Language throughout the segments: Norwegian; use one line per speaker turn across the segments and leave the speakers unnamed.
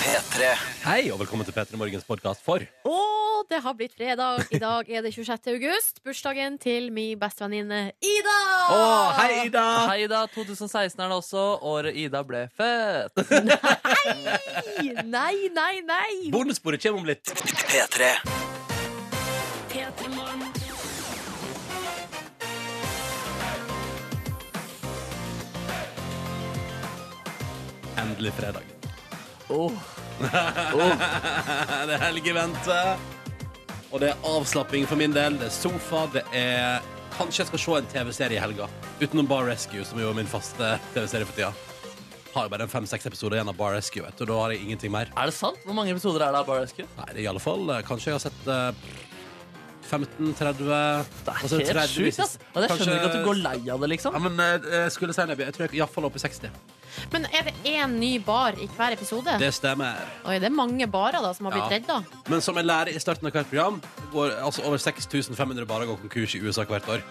P3.
Hei, og velkommen til P3 Morgens podkast for
Og det har blitt fredag. I dag er det 26. august. Bursdagen til min bestevenninne Ida!
Å, hei, Ida!
Hei, Ida. 2016 er det også. Året Ida ble født.
Nei, nei, nei!
Bondesporet kommer om litt.
P3.
Endelig fredag.
Oh.
Det er helg i vente. Og det er avslapping for min del. Det er sofa. Det er Kanskje jeg skal se en TV-serie i helga. Utenom Bar Rescue, som jo er min faste TV-serie for tida. Har jo bare en fem-seks episoder igjen av Bar Rescue, vet du. og Da har jeg ingenting mer.
Er det sant? Hvor mange episoder er det av Bar Rescue?
Nei, det er i alle fall eh, Kanskje jeg har sett eh, Altså, 15-30
Det er helt sjukt, ass. Og jeg skjønner ikke at du går lei av det, liksom.
Ja, men eh, jeg skulle si det. Jeg tror jeg iallfall oppe i 60.
Men er det én ny bar i hver episode?
Det stemmer.
Oi, det er mange barer da som har blitt
Ja.
redda.
Men som jeg lærer i starten av hvert program, går altså over 6500 barer går konkurs i USA hvert år.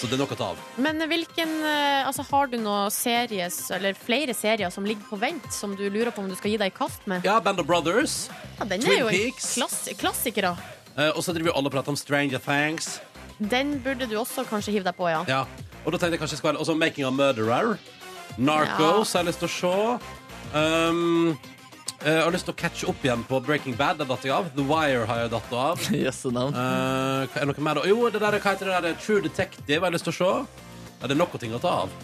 Så det er nok å ta av.
Men hvilken eh, Altså, har du noen series, eller flere serier som ligger på vent, som du lurer på om du skal gi deg i kast med?
Ja, Band of Brothers.
Ja, den
Twin
er jo en
Peaks.
klass klassiker, da.
Eh, og så driver vi alle og prater om Stranger Things.
Den burde du også kanskje hive deg på, ja.
Ja. Og da tenkte jeg kanskje jeg skal være Og så Making a Murderer. Narcos har jeg lyst til å se. Um, eh, jeg har lyst til å catche opp igjen på Breaking Bad. Det datt jeg av. The Wire har jeg datt av.
Jøsse navn.
Eh, hva- er det noe mer da? Jo, det der, hva heter det der? True Detective har jeg lyst til å se. Ja, det er nok av ting å ta av.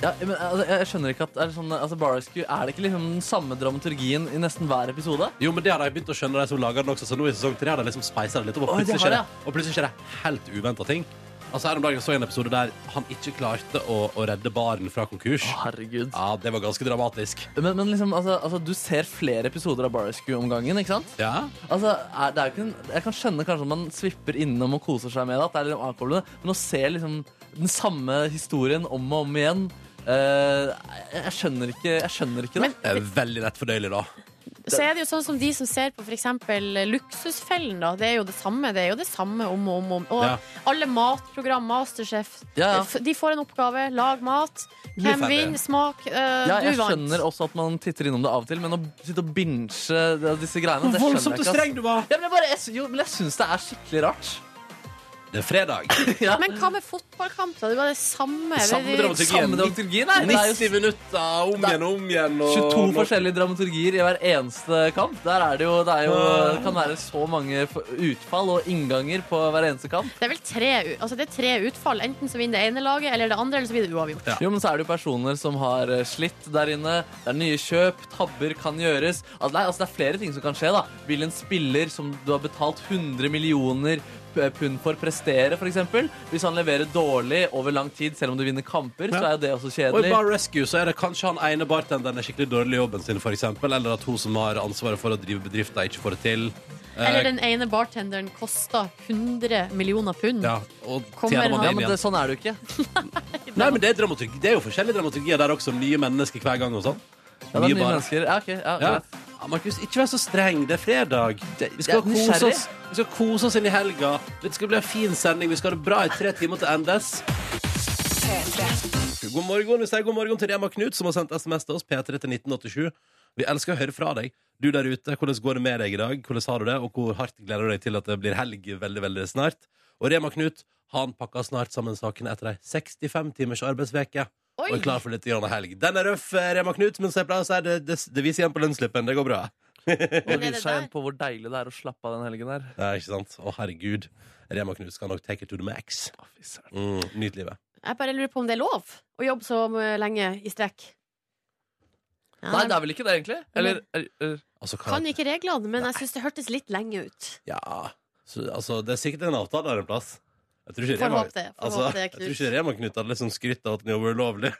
Ja, men altså, jeg skjønner ikke at er det sånn, altså, Bar Rescue Er det ikke liksom den samme dramaturgien i nesten hver episode?
Jo, men det har jeg begynt å skjønne, de som lager den også. Så nå i sesong tre har de liksom speisa det litt opp. Og
Oi, det
plutselig skjer
har
det, og plutselig skjer det helt uventa ting. Altså Her om dagen så jeg en episode der han ikke klarte å, å redde baren fra konkurs.
Å, herregud.
Ja, det var ganske dramatisk.
Men, men liksom, altså, altså, du ser flere episoder av Bar Rescue om gangen, ikke sant?
Ja,
Altså, er, det er jo ikke en, Jeg kan skjønne kanskje at man svipper innom og koser seg med det, at det er litt avkoblende, men å se liksom den samme historien om og om igjen eh, jeg, jeg skjønner ikke, jeg skjønner ikke det.
Men-
det er Veldig lett fordøyelig, da.
Så er det jo sånn som de som ser på f.eks. Luksusfellen, da. Det er jo det samme. Det er jo det samme om og om. og om. Og
Ja.
alle matprogram, Masterchef, eh,
Ja, ja.
f- de får en oppgave. Lag mat. Hvem
ferdig.
vinner? Smak. øh,
Eh,
ja,
du
jeg
vant.
skjønner også at man titter innom det av og til, men å sitte og binche det- disse greiene det skjønner
Voldsomt og
jeg ikke. ass.
streng du var!
Ja, men jeg, bare, jeg, sy- jo, men jeg syns det er skikkelig rart.
Det er fredag.
Ja.
Men hva med fotballkamp? da? Det var det samme.
Samme
Det-
dramatikk.
Samme dramaturgien her. Det er jo
90 minutter om igjen og om igjen. Og
22 forskjellige dramaturgier i hver eneste kamp. Der er det jo, det er jo,
Ah.
det kan være så mange f- utfall og innganger på hver eneste kamp.
Det er vel tre, u- altså det er tre utfall. Enten så vinner det ene laget eller det andre, eller så blir det uavgjort.
Ja.
Jo, men så er det jo personer som har eh, slitt der inne. Det er nye kjøp, tabber kan gjøres. Altså, det, er, altså, det er flere ting som kan skje. da Vil en spiller som du har betalt 100 millioner p- pund for, prestere, f.eks.? Hvis han leverer dårlig over lang tid, selv om du vinner kamper, så
Ja.
er jo det også
Og i
kjedelig.
Bar Rescue så er det kanskje han ene bartenderen er skikkelig dårlig i jobben sin, for eksempel, Eller at hun som har ansvaret for å drive bedrifta, ikke får det til. Eh,
Eller den ene bartenderen kosta 100 millioner pund.
ja, og
Kommer
tjener man
han-
Ja,
inn
men
igjen.
det, Sånn er det jo ikke.
Nei, men det er, dramaturgi. det er jo forskjellige dramaturgier der også. Nye mennesker hver gang og sånn.
Ja, det
Mye
er nye
bare.
mennesker. Ja, ok,
Ja.
ja, greit.
Ja, Markus, ikke vær så streng. Det er fredag. Vi skal,
jeg er
kose
nysgjerrig.
oss. vi skal kose oss inn i helga. Det skal bli en fin sending. Vi skal ha det bra i tre timer til endes. God morgen. Vi sier god morgen til Rema Knut, som har sendt SMS til oss. P3 til 1987. Vi elsker å høre fra deg. Du der ute, hvordan går det med deg i dag? Hvordan har du det? Og hvor hardt gleder du deg til at det blir helg veldig, veldig snart? Og Rema Knut han pakker snart sammen sakene etter ei 65 timers arbeidsveke og
Oi!
er klar for litt grann helg. Den er røff, eh, Rema Knut, men så jeg pleier å si det, det, det viser igjen på lønnsslippen. Det går bra.
Og det
Men er det
viser seg
der?
igjen på hvor deilig det er å slappe av den helgen her.
Det er ikke sant? Å, herregud. Rema Knut skal nok take it to the max. Mm, Nyt livet.
Jeg bare lurer på om det er lov å jobbe så eh, lenge i strekk. Ja,
Nei, det er vel ikke det, egentlig? Eller, eller
Altså, hva-
Kan ikke reglene, men jeg syns det hørtes litt lenge ut.
Ja, så, altså, det er sikkert en avtale der en plass. Jeg tror ikke
Får
Rema,
håpe det, får
altså,
håpe det,
jeg
Knut.
tror ikke Rema Knut hadde liksom skrytt av at den jobber ulovlig.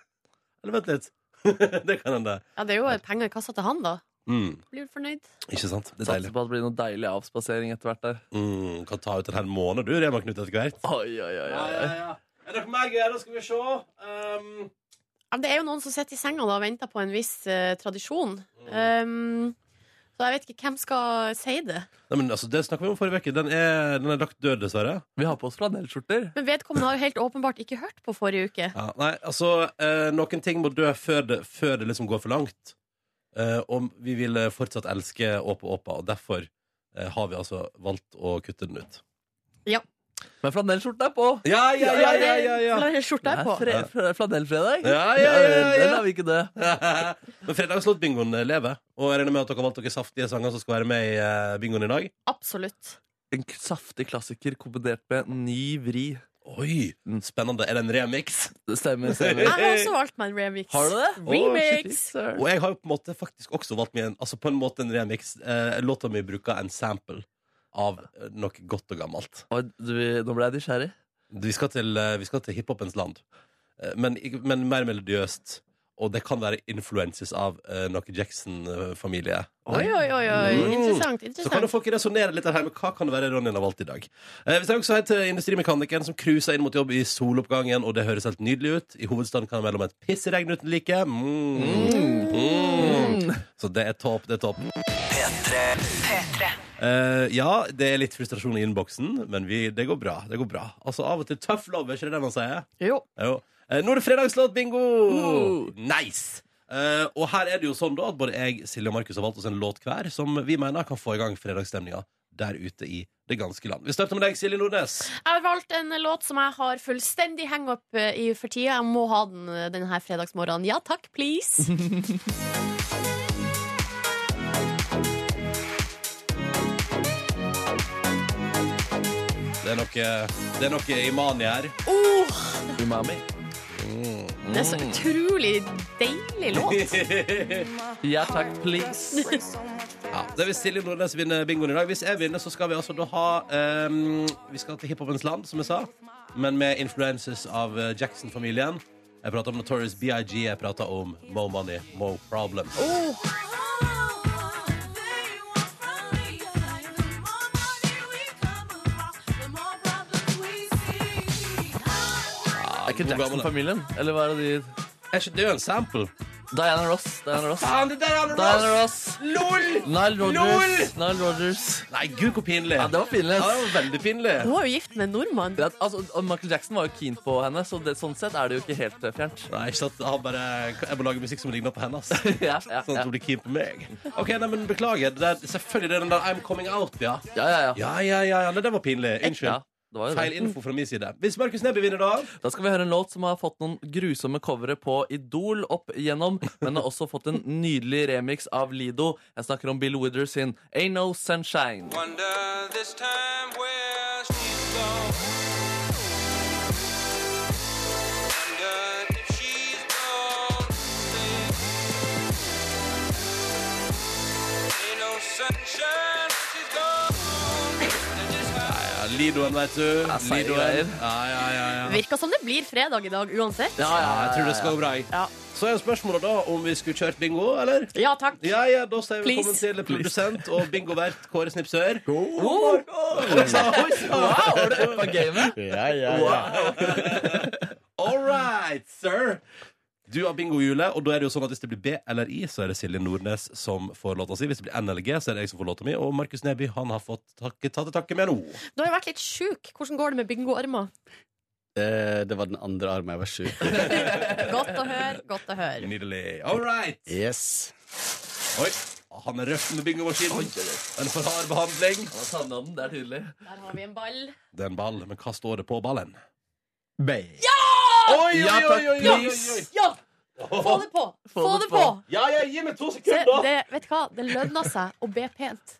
Eller vent litt. det kan hende.
Ja, Det er jo penger i kassa til han, da.
Mm,
Blir du fornøyd?
ikke sant? Det er
satser
deilig.
på at det blir noe deilig avspasering etter hvert der.
Mm, kan ta ut en hel måned, du, Rema Knut, etter hvert.
Oi, oi, oi, oi, oi.
Er det noe mer greier? Da skal vi se. Um,
Ja, men det er jo noen som sitter i senga da, og venter på en viss eh, tradisjon.
Mm.
Um, så jeg vet ikke hvem skal si det.
Nei, men altså, Det snakket vi om forrige uke. Den er, den er lagt død, dessverre.
Vi har på oss flanellskjorter.
Men vedkommende har jo helt åpenbart ikke hørt på forrige uke.
Ja, nei, altså, eh, Noen ting må dø før det, før det liksom går for langt. Eh, og vi vil eh, fortsatt elske Åpa Åpa, og derfor eh, har vi altså valgt å kutte den ut.
Men flanellskjorten er på!
Ja, ja, ja, ja, ja, ja.
Eller skjorta er på.
Det er fre- fre- flanellfredag.
Ja, ja, ja, ja.
Den har vi ikke det.
Men fredagslåtbingoen lever, og jeg regner med at dere har valgt dere saftige sanger som skal være med i eh, bingoen i dag.
Absolutt.
En k- saftig klassiker kombinert med ny vri.
Oi, spennende. Er det en remix?
Det stemmer. stemmer.
Jeg har også valgt meg en remix.
Eh, Har du det?
Remix!
Å,
Og jeg har jo på en måte faktisk også valgt meg en, altså på en måte en remix. Eh, låta mi bruker en sample av eh, noe godt og gammelt.
du, nå ble jeg nysgjerrig.
Vi skal til, eh, vi skal til hiphopens land, Eh, men, ikke- men mer melodiøst. Og det kan være influences av eh, noe Jackson-familie.
Oi, oi, oi. oi.
Mm.
Interessant.
Så kan jo
interessant.
folk resonnere litt her med hva kan det være Ronny har valgt i dag. Eh, vi trenger også hei til industrimekanikeren som cruiser inn mot jobb i soloppgangen, og det høres helt nydelig ut. I hovedstaden kan det mellom et pissregn uten like. Mm. Mm. Så det er topp, det er topp. Eh, ja, det er litt frustrasjon i innboksen, men vi, det går bra. det går bra Altså Av og til tøff love, er ikke det det man sier?
Jo.
Jo. Eh, nå er det fredagslåt, bingo!
Oh.
Nice! Eh, og her er det jo sånn da at både jeg, Silje og Markus har valgt oss en låt hver som vi mener kan få i gang fredagsstemninga der ute i det ganske land. Vi starter med deg, Silje Nordnes.
Jeg har valgt en låt som jeg har fullstendig hang-up i for tida. Jeg må ha den eh, denne her fredagsmorgenen. Ja takk, please.
Det er noe, det er noe Imani her.
Åh,
Umami.
det er så utrolig deilig låt.
Ja takk, please.
Ja, det vil Silje Nordnes vinne bingoen i dag. Hvis jeg vinner, så skal vi altså da ha ehm, Vi skal til hiphopens land, som jeg sa, men med influences av eh, Jackson-familien. Jeg prater om Notorious BIG, jeg prater om Mo Money, Mo Problem.
Åh,
Er ikke
Hvor gammel er-
Jackson-familien? Eller hva er det de
Er ikke det jo en sample?
Diana Ross. Diana Ross.
Faen, det der er
Diana
Ross!
Ross.
LOL!
Nile Rodgers. Nile Rodgers.
Nei, gud, hvor pinlig.
Ja, det var pinlig.
Ja, det
ass.
var veldig pinlig.
Hun er jo gift med en nordmann.
Det at- Altså, og Michael Jackson var jo keen på henne, så det, sånn sett er det jo ikke helt eh, fjernt.
Nei, ikke sant? Han bare Jeg må lage musikk som ligner på hennes.
Ja, ja,
Sånn at
ja.
hun blir keen på meg. OK, nei, men beklager. Det er, selvfølgelig det er den der I'm coming out, ja.
ja, ja, ja.
Ja, ja, ja. ja. Nei, det var pinlig. Unnskyld.
ja det var jo det.
Feil info fra min side. Hvis Markus Neby vinner, da?
Da skal vi høre en låt som har fått noen grusomme covere på Idol opp igjennom, men har også fått en nydelig remix av Lido. Jeg snakker om Bill Withers sin Ain't No Sunshine.
Wonder this time where she's gone. Wonder if she's gone. Ain't no sunshine when she's gone. They're just high.
Ja, Lidoen, vet du.
seige
Lidoen.
greier.
Ja, ja, ja, ja.
Virker som det blir fredag i dag uansett.
Ja,
ja, jeg tror det skal gå bra. jeg.
Ja.
Så er jo spørsmålet da om vi skulle kjørt bingo, eller?
Ja takk.
Ja, ja, da sier vi
Please.
velkommen til produsent og bingovert Kåre Snipsør.
Oh, wow, var det uppa gamet? Wow.
All right, sir. Du har bingohjulet, og da er det jo sånn at hvis det blir B eller I, så er det Silje Nordnes som får låta si. Hvis det blir N eller G, så er det jeg som får låta mi. Og Markus Neby han har fått takke, ta til takke med nå.
Du har jo vært litt sjuk. Hvordan går det med bingoarmer?
Eh, det var den andre armen jeg var sjuk i.
Godt å høre. godt å høre
Nydelig. All right.
Yes.
Oi. Han er røff med bingomaskinen. En for hard behandling.
Han har savnet den, det er tydelig.
Der har vi en ball.
Det er en ball, men hva står det på ballen?
Bay.
Oi,
Ja, takk,
oi.
please.
Ja! Få det på! Få det på!
Ja, ja, gi meg to
Se,
sekunder.
det, vet du hva? Det lønner seg å be pent.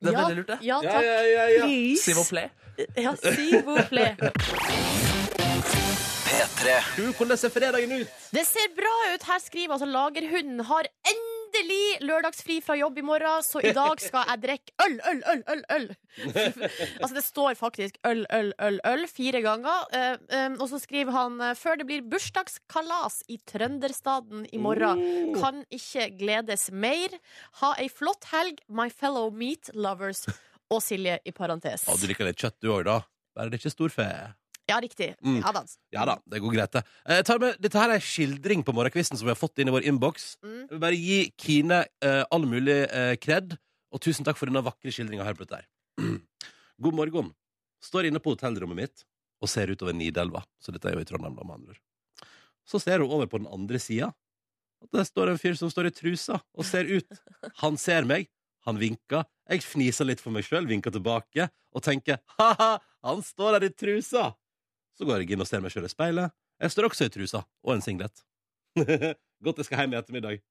Det er
Ja,
veldig lurt, det.
Ja,
Ja,
takk.
ja, ja, ja.
Si
Please.
hvor play.
Ja, si hvor flere.
Du, hvordan ser fredagen ut?
Det ser bra ut. Her skriver altså Lagerhunden har endelig lørdagsfri fra jobb i morgen, så i dag skal jeg drikke øl, øl, øl, øl, øl. altså, det står faktisk øl, øl, øl, øl fire ganger. Eh, eh, og så skriver han eh, før det blir bursdagskalas i Trønderstaden i morgen.
Oh.
Kan ikke gledes mer. Ha ei flott helg, my fellow meat lovers. Og Silje, i parentes.
Ja, du liker litt kjøtt du òg, da. Bare det ikke er storfe.
Ja, riktig.
Mm.
Ja da.
Ja da, det går greit, det. Eh, jeg tar med, dette her er en skildring på morgenkvisten som vi har fått inn i vår innboks.
Mm.
Jeg vil bare gi Kine eh, all mulig eh, kred, og tusen takk for denne vakre skildringa her. på dette her. God morgen. Står inne på hotellrommet mitt og ser utover Nidelva. Så dette er jo i Trondheim, da, med andre ord. Så ser hun over på den andre sida, at det står en fyr som står i trusa og ser ut. Han ser meg, han vinker. Jeg fniser litt for meg sjøl, vinker tilbake og tenker ha-ha, han står der i trusa! Så går jeg inn og ser meg sjøl i speilet. Jeg står også i trusa og en singlet. Godt jeg skal hjem i ettermiddag.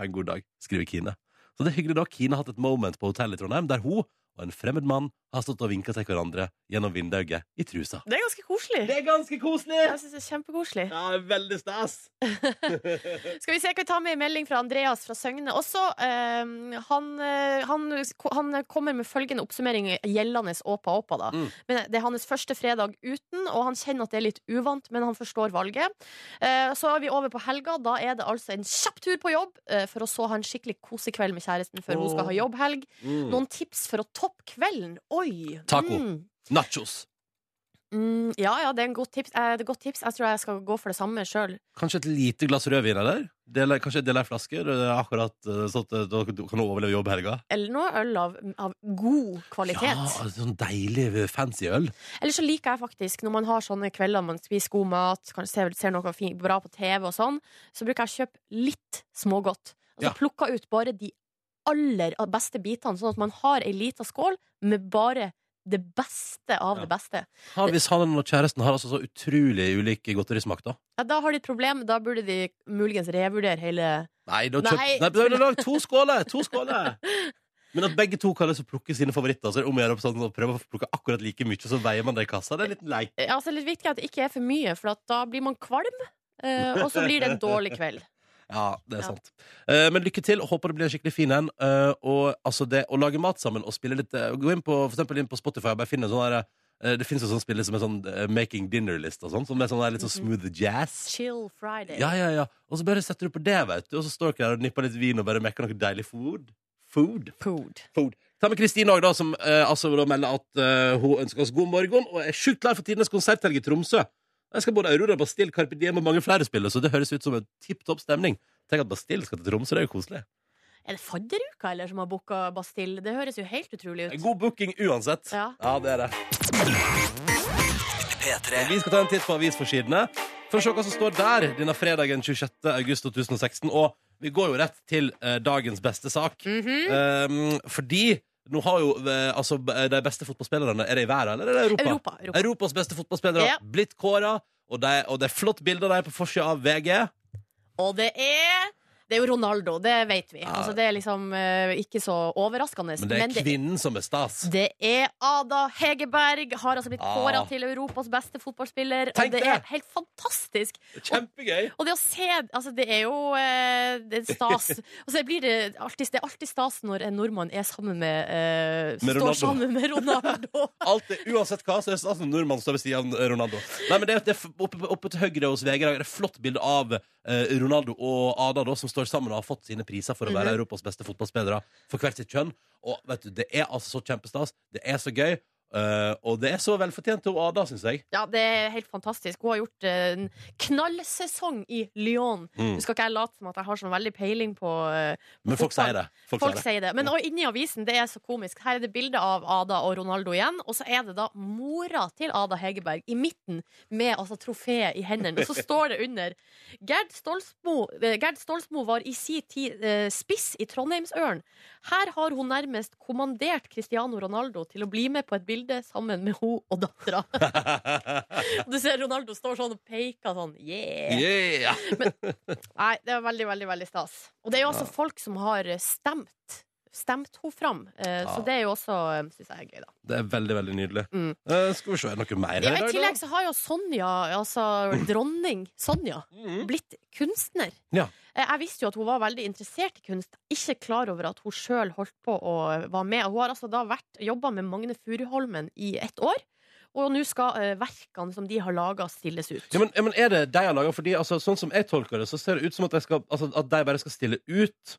Ha en god dag, skriver Kine. Så det er hyggelig da Kine har hatt et moment på hotellet i Trondheim, der hun og en fremmed mann har stått og vinka til hverandre gjennom vinduet i trusa.
Det er ganske koselig.
Det er ganske koselig!
Jeg synes det er kjempekoselig.
Ja, det er veldig stas.
Skal vi se, kan vi ta med en melding fra Andreas fra Søgne også. Eh, han, eh, han, han kommer med følgende oppsummering gjeldende Åpa Åpa. Da.
Mm.
Men det er hans første fredag uten, og han kjenner at det er litt uvant, men han forstår valget. Eh, så er vi over på helga. Da er det altså en kjapp tur på jobb, eh, for å så ha en skikkelig kosekveld med kjæresten før hun skal ha jobbhelg.
Mm.
Noen tips for å toppe kvelden? Oi!
Taco.
Mm.
Nachos.
Mm, ja, ja, det er en god tips. Eh, det er godt tips. Jeg tror jeg skal gå for det samme sjøl.
Kanskje et lite glass rødvin eller? Dele, kanskje dele ei flaske? det er Akkurat eh, sånn at eh, dere kan overleve jobbhelga.
Eller noe øl av, av god kvalitet.
Ja, altså, sånn deilig, fancy øl.
Eller så liker jeg faktisk, når man har sånne kvelder man spiser god mat, kanskje ser, ser noe fin, bra på TV og sånn, så bruker jeg å kjøpe litt smågodt. Altså
Ja.
plukker ut bare de aller beste bitene, sånn at man har ei lita skål med bare det beste av
Ja.
det beste.
Han, hvis han og kjæresten har altså så utrolig ulik godterismak, da.
Ja, da har de et problem. Da burde de muligens revurdere hele
Nei, da
Nei.
kjøp, nei. da vil jeg lage to skåler! To skåler! Men at begge to kan liksom plukke sine favoritter, så er det om å gjøre å sånn, å prøve å plukke akkurat like mye, og så veier man det i kassa. Det er en liten leik.
Ja, altså, Det er litt viktig at det ikke er for mye, for at da blir man kvalm, eh, og så blir det en dårlig kveld.
Ja, det er
Ja.
sant. Eh, men lykke til. og Håper det blir en skikkelig fin en. Eh, og altså det å lage mat sammen og spille litt eh, Gå inn på, for eksempel inn på Spotify og bare finne sånn der, eh, Det fins jo sånn spill som er sånn eh, Making Dinner-list og sånn, som er sånn der litt sånn smooth jazz.
Chill Friday.
Ja, ja, ja. Og så bare setter du på det, vet du, og så står dere der og nipper litt vin og bare mekker noe deilig food. Food.
Food.
Ta med Kristin òg, da, som eh, altså da melder at eh, hun ønsker oss god morgen og er sjukt klar for tidenes konserthelg i Tromsø. Jeg skal både Aurora, Bastille, Carpe Diem og mange flere spille, så det høres ut som en tipp topp stemning. Tenk at Bastille skal til Tromsø, det er jo koselig.
Er det fadderuka eller som har booka Bastille? Det høres jo helt utrolig ut.
God booking uansett.
Ja.
det er det. Vi skal ta en titt på avisforsidene. For å se hva som står der denne fredagen 26. august 2016. Og vi går jo rett til eh, dagens beste sak.
Mhm.
um, fordi nå har jo eh, altså, b- de beste fotballspillerne Er det i verden, eller er det Europa?
Europa. Europa.
Europas beste fotballspillere
Ja.
blitt kåra, og, de, og det er flott bilde av dem på forsida av VG.
Og det er Det er jo Ronaldo, det vet vi.
Ja.
Altså, det er liksom eh, ikke så overraskende.
Men det er kvinnen som er stas.
det er Ada Hegerberg. Har altså blitt
Ah.
kåra til Europas beste fotballspiller.
Tenk
og det,
det!
er helt fantastisk.
Kjempegøy!
Og det å se Altså, det er jo eh, det er stas. Og så blir det, alltid, det er alltid stas når en nordmann er sammen med, eh,
Med Ronaldo.
Står sammen med Ronaldo.
Alt er, uansett hva, så er det sånn som nordmann står ved siden av Ronaldo. Nei, men det, er- det, er oppe, oppe til høyre hos VG i dag er det et flott bilde av eh, Ronaldo og Ada, da, som står sammen og har fått sine priser for å være Europas beste fotballspillere for hvert sitt kjønn. Og vet du, Det er altså så kjempestas. Det er så gøy. eh, og det er så velfortjent til Ada, syns jeg.
Ja, det er helt fantastisk. Hun har gjort eh, en knallsesong i Lyon.
Mm.
Nå skal ikke jeg late som at jeg har sånn veldig peiling på eh,
Men folk sier det. Folk,
Folk
sier det.
sier det. Men og inni avisen, det er så komisk. Her er det bilde av Ada og Ronaldo igjen. Og så er det da mora til Ada Hegerberg i midten med altså, trofeet i hendene. Og så står det under Gerd Stolsmo, eh, Gerd Stolsmo var i si tid eh, spiss i Trondheimsørn. Her har hun nærmest kommandert Cristiano Ronaldo til å bli med på et bilde sammen med hun og dattera. Og du ser Ronaldo står sånn og peker sånn. Yeah!
Yeah.
Nei, det er veldig, veldig, veldig stas. Og det er jo også folk som har eh, stemt. Stemt henne fram. Eh,
Ja.
Så det er jo også eh, synes jeg er gøy, da.
Det er veldig, veldig nydelig.
Mm.
Eh, skal vi se, er det noe mer
Ja,
her
I
i dag,
tillegg
da? Mm.
så har jo Sonja, altså dronning Sonja,
Mhm.
blitt kunstner.
Ja.
Eh, Jeg visste jo at hun var veldig interessert i kunst. Ikke klar over at hun sjøl holdt på å være med. Hun har altså da vært jobba med Magne Furuholmen i ett år. Og nå skal eh, verkene som de har laga, stilles ut.
Ja, men, ja, men er det de har laga? Fordi altså, sånn som jeg tolker det, så ser det ut som at, jeg skal, altså, at de bare skal stille ut.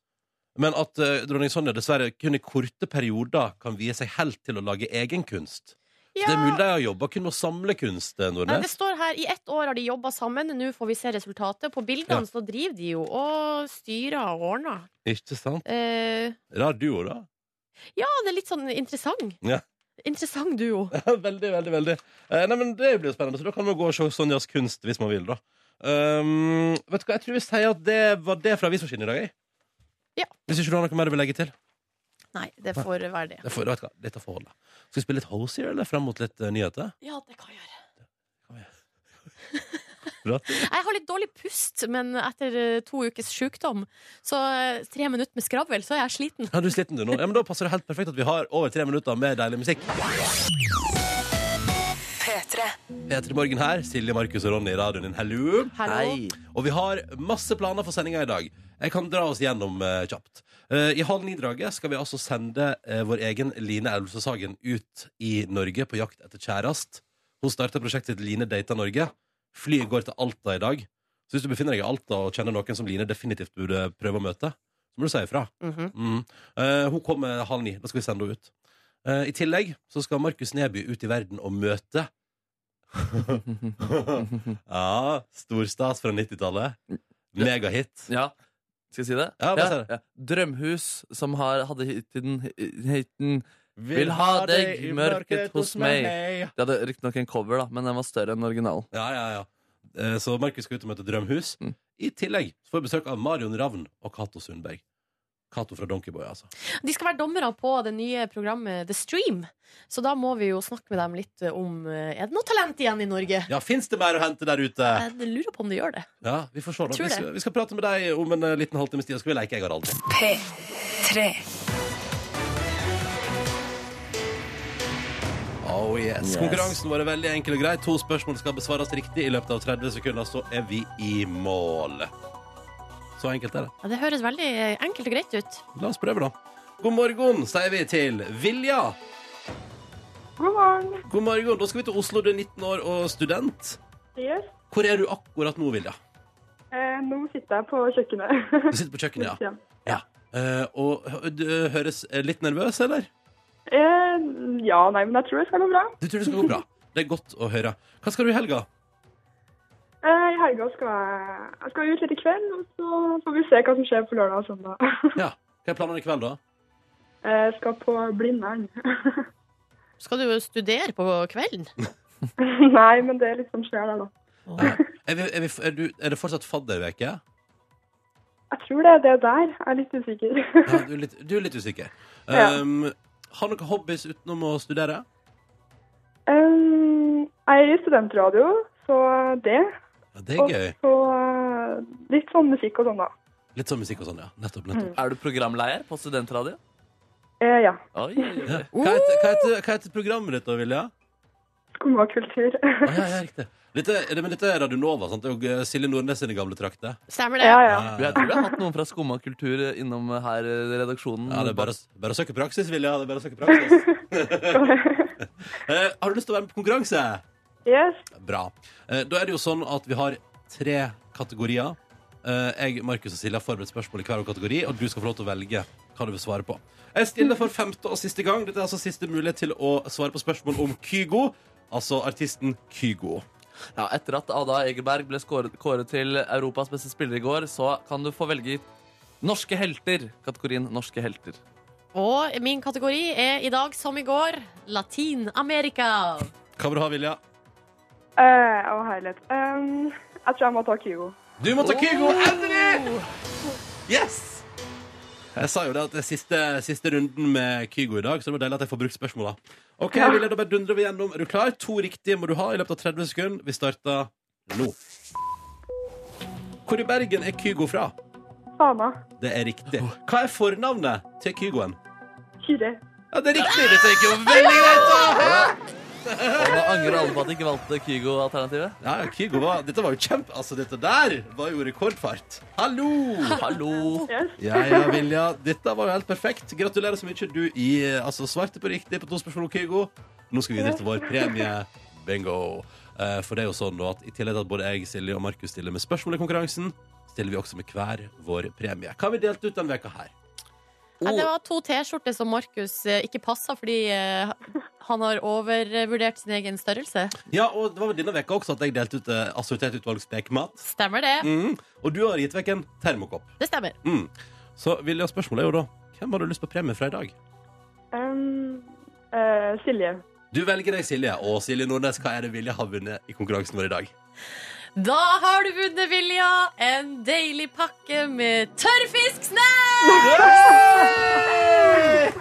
Men at eh, dronning Sonja dessverre kun i korte perioder kan vie seg helt til å lage egen kunst. Så Det er mulig de har jobba kun med å samle kunst, eh,
Nei, det
Nordnes.
står her, I ett år har de jobba sammen, nå får vi se resultatet. På bildene
Ja.
så driver de jo og styrer og ordner.
Ikke sant?
Eh,
Rar duo, da.
ja, det er litt sånn interessant.
Ja.
Interessant duo.
veldig, veldig, veldig. Eh, nei, men Det blir jo spennende, så da kan man gå og se Sonjas kunst hvis man vil, da. Um, vet du hva, jeg tror vi sier at det var det fra avismaskinen i dag, jeg.
Ja.
Hvis ikke du har noe mer du vil legge til.
Nei, det får være det.
Det får, vet du hva, dette får holde. Skal vi spille litt Hosier, eller fram mot litt eh, nyheter?
Ja, det kan jeg gjøre.
Bra.
Jeg har litt dårlig pust, men etter eh, to ukes sykdom, så eh, tre minutter med skravel, så er jeg sliten.
Ja, du er sliten du nå? Ja, men Da passer det helt perfekt at vi har over tre minutter med deilig musikk. P3 Morgen her, Silje, Markus og Ronny i radioen din. Hello.
Hallo.
Og vi har masse planer for sendinga i dag. Jeg kan dra oss gjennom eh, kjapt. Eh, I halv ni-draget skal vi altså sende eh, vår egen Line Elvestad Sagen ut i Norge på jakt etter kjærest. Hun starta prosjektet sitt Line data Norge. Flyet går til Alta i dag. Så hvis du befinner deg i Alta og kjenner noen som Line definitivt burde prøve å møte, så må du si ifra.
Mhm.
Mm. Eh, hun kommer halv ni. Da skal vi sende henne ut. Eh, I tillegg så skal Markus Neby ut i verden og møte Ja, storstas fra 90-tallet. Megahit.
Ja. Skal jeg si det?
Ja, bare si det.
Drømhus, som har, hadde hiten, hiten Vil ha deg i mørket hos meg. De hadde riktignok en cover, da, men den var større enn originalen.
Ja, ja, ja. Eh, Så Markus skal ut og møte Drømhus.
Mm.
I tillegg så får vi besøk av Marion Ravn og Cato Sundberg. Cato fra Donkeyboy, altså.
De skal være dommere på det nye programmet The Stream, så da må vi jo snakke med dem litt om eh, Er det noe talent igjen i Norge?
Ja, Fins det mer å hente der ute?
Jeg lurer på om de gjør det.
Ja, Vi får se. da.
Tror
Vi
det.
skal, vi skal prate med deg om en eh, liten halvtimes tid, og så skal vi leke Jeg har aldri.
P3.
Oh yes.
Yes.
Konkurransen vår er veldig enkel og grei. To spørsmål skal besvares riktig i løpet av 30 sekunder, så er vi i mål. Så enkelt er det.
Ja, det høres veldig eh, enkelt og greit ut.
La oss prøve, da. God morgen, sier vi til Vilja.
God morgen.
God morgen. Da skal vi til Oslo. Du er 19 år og student.
Yes.
Hvor er du akkurat nå, Vilja?
Eh, nå sitter jeg på kjøkkenet.
Du sitter på kjøkkenet, ja. ja. Eh, og hø- du høres eh, litt nervøs, eller?
Eh, ja, nei, men jeg tror det skal gå bra.
Du tror det skal gå bra. Det er godt å høre. Hva skal du i helga?
Eh, I helga skal jeg, jeg skal ut litt i kveld, og så får vi se hva som skjer på lørdag og søndag. Eh,
Ja. Hva er planene i kveld, da?
Jeg skal på Blindern.
Skal du jo studere på kvelden?
nei, men det er litt som skjer der, da.
Eh, Er, vi, er, vi, er, du, er det fortsatt fadderveke?
Jeg tror det er det der. Jeg er litt usikker.
Ja, du, er litt, du er litt usikker.
Ja.
Um, har noen hobbies utenom å studere?
Eh, jeg er i studentradio, så det.
Ja, det er
Og
gøy.
så eh, litt sånn musikk og sånn, da.
Litt sånn musikk og sånn, ja. Nettopp. nettopp.
Mm. Er du programleder på studentradio?
Eh, ja.
Oi.
Ja. Hva, heter, hva, heter, hva heter programmet ditt, da, Vilja?
Skumma kultur.
Ah, ja, ja, riktig. Dette, er det, men dette er Radio Nova, sant? Det er jo eh, Silje Nordnes sine gamle trakter.
Stemmer det?
ja, ja.
Ja,
Vi
ja,
har, vi har hatt noen fra Skumma kultur innom her i redaksjonen.
Ja, det er bare, bare å søke praksis, Vilja. Det er bare å søke praksis. Eh, har du lyst til å være med på konkurranse?
Yes.
Bra. Eh, da er det jo sånn at vi har tre kategorier. Eh, jeg, Markus og Silje har forberedt spørsmål i hver vår kategori, og du skal få lov til å velge hva du vil svare på. Jeg stiller for femte og siste gang. Dette er altså siste mulighet til å svare på spørsmål om Kygo. Altså artisten Kygo.
Ja, etter at Ada Egerberg ble skåret, kåret til Europas beste spiller i går, så kan du få velge norske helter. Kategorien norske helter.
Og min kategori er i dag som i går Latin-Amerika.
Hva vil du ha, Vilja?
Eh, å, herlighet. Um, jeg tror jeg må ta Kygo.
Du må ta Kygo! Endelig! Yes! Jeg sa jo det at det er siste, siste runden med Kygo i dag, så det var deilig at jeg får brukt spørsmåla. Ok, Vilja, da bare dundrer vi gjennom. Er du klar? To riktige må du ha i løpet av 30 sekunder. Vi starter nå. Hvor i Bergen er Kygo fra?
Fana.
Det er riktig. Hva er fornavnet til Kygoen?
Kyrre.
Ja, det er riktig! Dette gikk jo veldig greit! da!
Og nå angrer alle på at de ikke valgte Kygo-alternativet.
Ja, Kygo var, dette var jo kjempe... Altså, dette der var jo rekordfart. Hallo!
Hallo!
Yes.
Ja, ja, Vilja. Dette var jo helt perfekt. Gratulerer så mye. Du i, eh, altså, svarte på riktig på to spørsmål om Kygo. Nå skal vi videre til vår premie. Bingo. Eh, For det er jo sånn nå at i tillegg til at både jeg, Silje og Markus stiller med spørsmål i konkurransen, stiller vi også med hver vår premie. Hva har vi delt ut denne veka her?
Ja, det var to T-skjorter som Markus eh, ikke passa fordi eh, han har overvurdert sin egen størrelse.
Ja, og det var vel denne veka også at jeg delte ut eh, assortert utvalg spekemat.
Stemmer det?
Mm. Og du har gitt vekk en termokopp.
Det stemmer.
Mm. Så Vilja, spørsmålet er jo da hvem har du lyst på premie fra i dag?
Um, eh, Silje.
Du velger deg Silje. Og Silje Nordnes, hva er det Vilja har vunnet i konkurransen vår i dag?
Da har du vunnet, Vilja, en deilig pakke med tørrfisksnacks!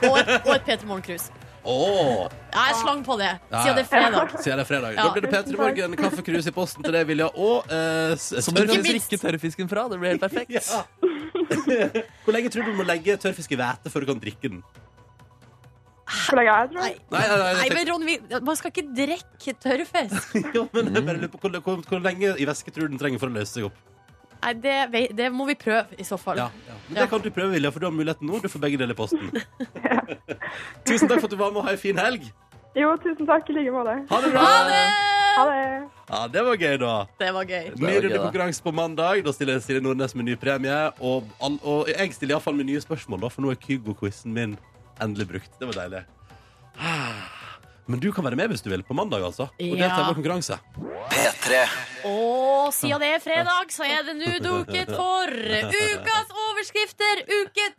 Og et, og et Peter Morgen-krus.
Åh,
Jeg slang på det,
Ja, ja.
siden det er fredag.
siden det er fredag. Da
Ja.
blir det P3 Morgen, kaffekrus i posten til deg, Vilja, og eh, s-
Som du kan
tørrfisk.
minst.
drikke tørrfisken fra. Det blir helt perfekt.
Ja. Hvor lenge tror du du må legge tørrfisk i hvete før du kan drikke den?
For det er jeg, tror
Nei,
jeg.
Nei, nei, nei,
nei
jeg
men Ronny, man skal ikke drikke tørrfisk.
tenkte- Jo, men jeg bare lurer på hvor, hvor, hvor lenge i væske tror du den trenger for å løse seg opp?
Nei, det, vei- det må vi prøve, i så fall.
Ja, ja. Men det
Ja.
kan du prøve, Vilja, for du har muligheten nå. Du får begge deler i posten. Tusen takk for at du var med, og ha en fin helg.
Jo, tusen takk i like måte.
Ha det bra!
Ha det!
Ha det.
Ja, det var gøy, da.
Det var gøy.
Ny
var gøy,
runde
da.
konkurranse på mandag. Da stiller Silje Nordnes med ny premie. Og, all, og jeg stiller iallfall med nye spørsmål, da, for nå er Kygo-quizen min endelig brukt. Det var deilig. Ah. Men du kan være med hvis du vil på mandag, altså. Og
Ja.
delta i vår konkurranse.
Og siden det er fredag, så er det nå duket for ukas overskrifter, uke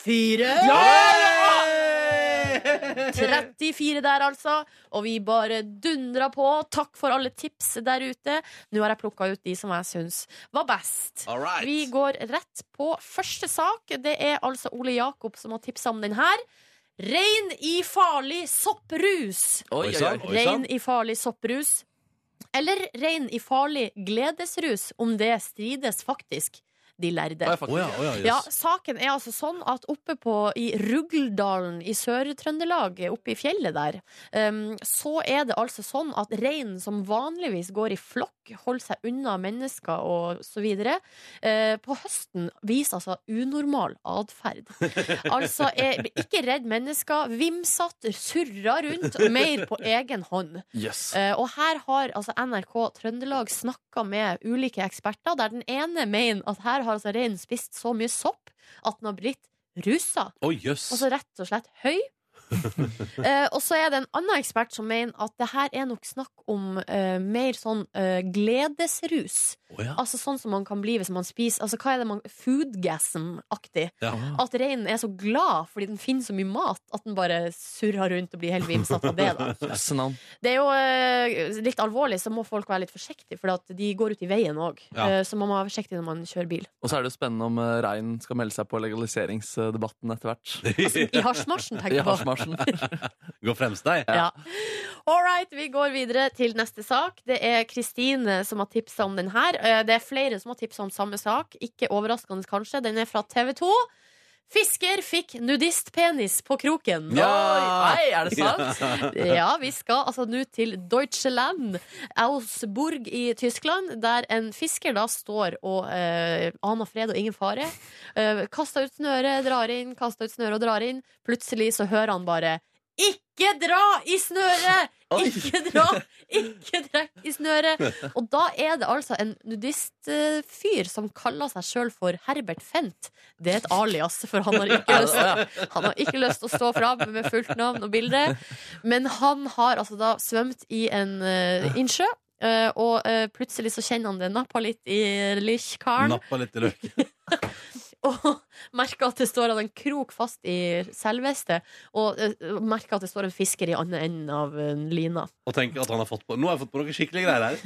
34!
Yeah!
34 der, altså. Og vi bare dundra på. Takk for alle tips der ute. Nå har jeg plukka ut de som jeg syns var best.
All right.
Vi går rett på første sak. Det er altså Ole Jakob som har tipsa om den her. Rein i farlig sopprus.
Oi,
Oi,
oi,
sann.
oi.
Rein i farlig sopprus. Eller rein i farlig gledesrus, om det strides faktisk, de lærde.
Oi,
Å
faktisk.
ja, å ja, jøss.
Ja, saken er altså sånn at oppe på, i Rugldalen i Sør-Trøndelag, oppe i fjellet der, um, så er det altså sånn at reinen som vanligvis går i flokk, holder seg unna mennesker og så videre, eh, på høsten viser altså unormal atferd. Altså er ikke redd mennesker, vimsatt, surrer rundt, mer på egen hånd. Eh, og her har altså, NRK Trøndelag snakka med ulike eksperter, der den ene mener at her har altså reinen spist så mye sopp at den har blitt rusa.
Å, jøss.
Altså rett og slett høy. Eh, og så er det en annen ekspert som mener at det her er nok snakk om eh, mer sånn eh, gledesrus.
Å, ja.
Altså sånn som man kan bli hvis man spiser Altså hva er det man Foodgasm-aktig.
Ja.
At reinen er så glad fordi den finner så mye mat at den bare surrer rundt og blir helt vimsete av det. da
Jøsse navn.
det er jo eh, litt alvorlig, så må folk være litt forsiktige, for at de går ut i veien òg.
Ja.
Så man må være forsiktig når man kjører bil.
Og så er det jo spennende om eh, rein skal melde seg på legaliseringsdebatten etter hvert.
Altså, I hasjmarsjen, tenker
I
jeg på.
hasjmarsjen.
Gå fremst, deg.
Ja. All right, vi går videre til neste sak. Det er Kristine som har tipsa om den her. Eh, Det er flere som har tipsa om samme sak. Ikke overraskende, kanskje. Den er fra TV 2. Fisker fikk nudistpenis på kroken.
Ja.
Nei, er det sant?
Ja, vi skal altså nå til Deutscheland, Augsburg i Tyskland, der en fisker da står og eh, aner fred og ingen fare. Eh, kaster ut snøret, drar inn, kaster ut snøret og drar inn. Plutselig så hører han bare ikke dra i snøret! Ikke dra! Ikke trekk i snøret! Og da er det altså en nudistfyr som kaller seg sjøl for Herbert Fent. Det er et alias, for han har ikke lyst han har ikke lyst til å stå fram med fullt navn og bilde, men han har altså da svømt i en eh, innsjø. eh, og eh, plutselig så kjenner han det nappa litt i lykkaren
Nappa litt i løk.
og merker at det står han en krok fast i selvvestet. Og eh, merker at det står en fisker i andre enden av eh, lina.
Og tenker at han har fått på Nå har jeg fått på noe skikkelig greier her.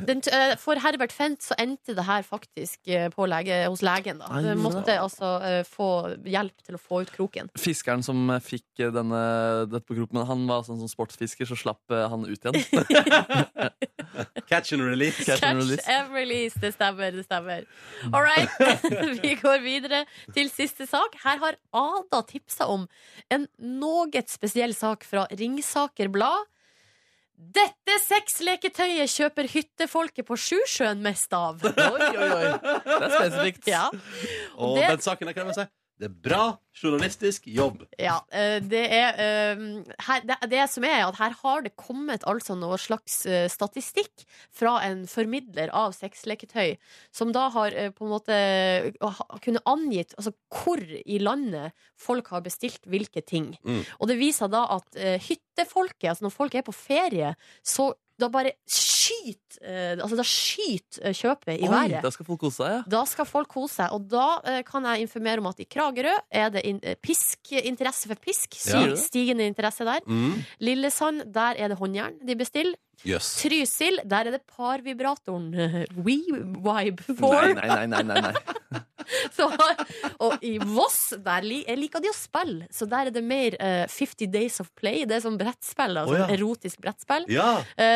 Den, t- eh, for Herbert Fent så endte det her faktisk eh, på lege, hos legen. Da.
Ai,
Eh,
men-
Måtte altså eh, få hjelp til å få ut kroken.
Fiskeren som eh, fikk eh, denne, dette på kroppen, han var sånn som sportsfisker, så slapp eh, han ut igjen.
Catch and release.
Catch and
Catch
release.
and release. Det stemmer, det stemmer. All right. Vi går videre til siste sak. Her har Ada tipsa om en noe spesiell sak fra Ringsaker Blad. Dette sexleketøyet kjøper hyttefolket på Sjusjøen mest av.
Oi, oi, oi. Det er spesifikt.
Ja,
Og
Det-
den saken der kan jeg bare si. Det er bra journalistisk jobb.
ja eh, det er eh, her, det, det som er at her har det kommet altså noe slags eh, statistikk fra en formidler av sexleketøy, som da har eh, på en måte eh, ha- kunne angitt altså, hvor i landet folk har bestilt hvilke ting.
Mm.
Og det viser da at eh, hyttefolket, altså når folk er på ferie, så da bare skyter skyter eh, altså, da skyter eh, kjøpet i
Oi,
været.
da skal folk kose seg, ja.
Da skal folk kose seg, og da eh, kan jeg informere om at i Kragerø er det in eh, pisk, interesse for pisk.
Ja.
Stig- Stigende interesse der.
Mm.
Lillesand, der er det håndjern de bestiller.
Jøss.
Trysil, der er det parvibratoren eh, WeVibe 4.
Nei, nei, nei, nei, nei, nei.
Så, og i Voss, der li, jeg liker de å spille, så der er det mer eh, 50 Days of Play. Det er sånn brettspill, altså,
Å, ja.
erotisk brettspill,
Ja.